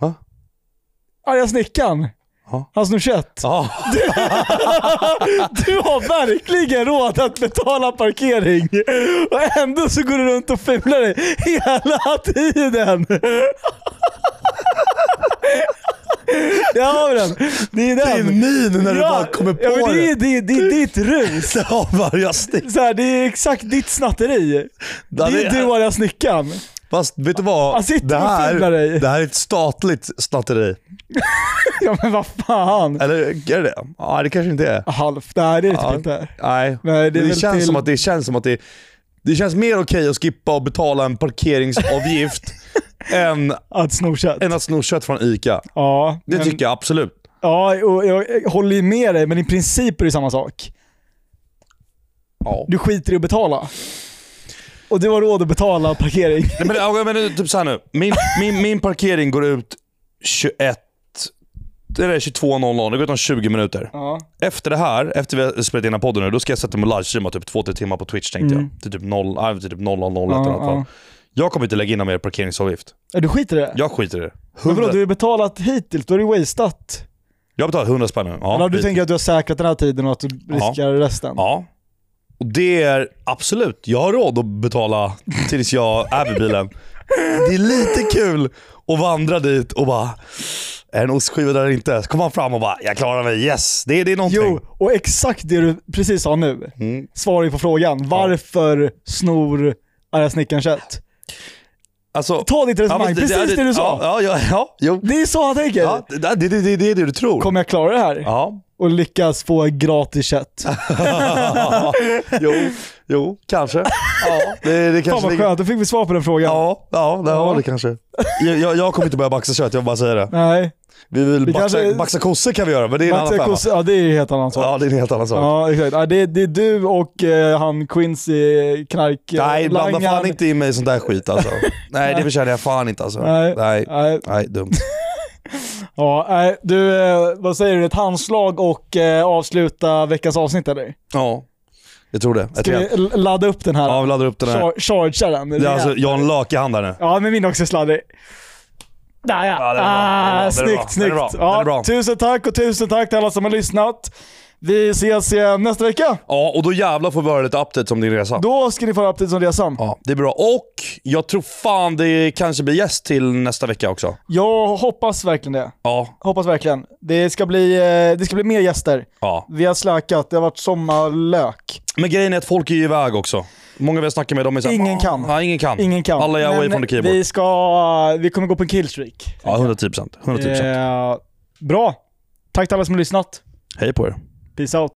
Speaker 2: Va?
Speaker 1: Arga snickaren.
Speaker 2: Ja.
Speaker 1: Han snor kött.
Speaker 2: Ja.
Speaker 1: Du har verkligen råd att betala parkering och ändå så går du runt och fular dig hela tiden. Där har vi den. Det är den.
Speaker 2: Din min när du bara kommer på
Speaker 1: ja, men det.
Speaker 2: det.
Speaker 1: Är, det, är, det är ditt rus.
Speaker 2: Ja, varje snitt.
Speaker 1: Så här, det är exakt ditt snatteri. Det
Speaker 2: Ja, det-
Speaker 1: är du och arga snickaren.
Speaker 2: Fast vet du vad?
Speaker 1: Han sitter
Speaker 2: det,
Speaker 1: och fibblar dig.
Speaker 2: här, det här är ett statligt snatteri.
Speaker 1: Ja men vad fan.
Speaker 2: Eller är det det? Ja, det kanske inte är.
Speaker 1: Halvt. Nej det är det
Speaker 2: Ja.
Speaker 1: typ inte.
Speaker 2: Nej.
Speaker 1: Nej, det
Speaker 2: det,
Speaker 1: är väl
Speaker 2: känns
Speaker 1: till-
Speaker 2: som att det känns som att det det känns mer okej att skippa och betala en parkeringsavgift än,
Speaker 1: Att sno kött.
Speaker 2: än att sno kött från ICA.
Speaker 1: Ja,
Speaker 2: Det
Speaker 1: men-
Speaker 2: tycker jag absolut.
Speaker 1: Ja, och jag håller ju med dig, men i princip är det samma sak.
Speaker 2: Ja.
Speaker 1: Du skiter i att betala. Och du har råd att betala parkering.
Speaker 2: Nej, men, ja, men nu, typ så här nu. Min, min, min parkering går ut 21... Eller 22.00. Det går ut om 20 minuter.
Speaker 1: Ja.
Speaker 2: Efter det här, efter vi har spelat in den här podden nu, då ska jag sätta mig och livestreama typ 2-3 timmar på Twitch tänkte jag. Till typ 0, ja, till typ 00.01
Speaker 1: Mm. Ja,
Speaker 2: eller något.
Speaker 1: ja.
Speaker 2: fall. Jag kommer inte lägga in någon mer parkeringsavgift.
Speaker 1: Du skiter i det?
Speaker 2: Jag skiter i det.
Speaker 1: men vadå,
Speaker 2: 100
Speaker 1: du har ju betalat hittills, då har du wastat.
Speaker 2: Jag har betalat 100 spänn nu. Ja,
Speaker 1: Eller har du
Speaker 2: skit.
Speaker 1: tänker att du har säkrat den här tiden och att du riskerar resten?
Speaker 2: ja. Och det är absolut, jag har råd att betala tills jag är vid bilen. Det är lite kul att vandra dit och bara, är det en ostskiva där eller inte? Så kommer han fram och bara, jag klarar mig, yes. Det, är- det är någonting.
Speaker 1: Jo, och exakt det du precis sa nu
Speaker 2: Mm.
Speaker 1: svarar ju på frågan. Varför snor arga snickaren kött?
Speaker 2: Alltså,
Speaker 1: Ta ditt
Speaker 2: ja, men
Speaker 1: resonemang, precis det, du sa.
Speaker 2: Ja, ja, ja, ja, jo.
Speaker 1: Det är så han tänker.
Speaker 2: ja det, det, det, det, det är det du tror.
Speaker 1: Kommer jag klara det här?
Speaker 2: Ja,
Speaker 1: Och lyckas få gratis kött?
Speaker 2: jo, jo, kanske. Ja, det, det
Speaker 1: Fan
Speaker 2: kanske
Speaker 1: vad
Speaker 2: ligger-
Speaker 1: skönt, då fick vi svar på den frågan.
Speaker 2: Ja, ja, det
Speaker 1: Ja.
Speaker 2: har det kanske. Jag, jag, jag kommer inte börja baxa kött, jag bara säger det.
Speaker 1: Nej,
Speaker 2: Vi vill
Speaker 1: Vi
Speaker 2: baxa,
Speaker 1: kanske-
Speaker 2: baxa kossor kan vi göra, men det är en
Speaker 1: Max
Speaker 2: annan
Speaker 1: Ekos, ja det är ju helt annan sak.
Speaker 2: femma.
Speaker 1: Ja.
Speaker 2: Ja, det är en helt annan sak.
Speaker 1: exakt. Ja, det, det är du och eh, han Quincy knark... eh,
Speaker 2: Nej, blanda
Speaker 1: langaren.
Speaker 2: fan inte in mig i sånt där skit alltså. Nej, det förtjänar jag fan inte alltså.
Speaker 1: Nej.
Speaker 2: Nej,
Speaker 1: Nej,
Speaker 2: Nej, dumt.
Speaker 1: ja, nej, du, eh, vad säger du? Ett handslag och eh, avsluta veckans avsnitt eller?
Speaker 2: Ja, jag tror det. Jag
Speaker 1: Ska
Speaker 2: tror
Speaker 1: vi
Speaker 2: jag.
Speaker 1: l- ladda upp den här?
Speaker 2: Ja, vi laddar upp den här.
Speaker 1: Char- chargea den?
Speaker 2: Det är alltså
Speaker 1: rejält.
Speaker 2: Jan Lök i hand här nu.
Speaker 1: Ja, men min också är sladdrig. Där ja!
Speaker 2: Ja, den är bra, den
Speaker 1: ah,
Speaker 2: är bra, den är bra,
Speaker 1: snyggt,
Speaker 2: den är
Speaker 1: snyggt.
Speaker 2: bra, den är
Speaker 1: Ja,
Speaker 2: bra.
Speaker 1: tusen tack och tusen tack till alla som har lyssnat. Vi ses igen nästa vecka.
Speaker 2: Ja, och då jävlar får vi höra lite update om din resa.
Speaker 1: Då ska ni få en update som resan.
Speaker 2: Ja, det är bra. Och jag tror fan det kanske blir gäst till nästa vecka också.
Speaker 1: Jag hoppas verkligen det.
Speaker 2: Ja,
Speaker 1: Hoppas verkligen. Det ska bli, eh, det ska bli mer gäster.
Speaker 2: ja.
Speaker 1: Vi har släkat, det har varit sommarlök.
Speaker 2: Men grejen är att folk är ju iväg också. Många vi har snackat med, de är såhär,
Speaker 1: Ingen kan.
Speaker 2: Ja, ingen kan.
Speaker 1: Ingen kan.
Speaker 2: Alla är away
Speaker 1: Men
Speaker 2: from the keyboard.
Speaker 1: Vi, ska, vi kommer gå på en killstreak.
Speaker 2: Ja, 110%. 110%.
Speaker 1: Eh, bra. Tack till alla som har lyssnat.
Speaker 2: Hej på er.
Speaker 1: Peace out.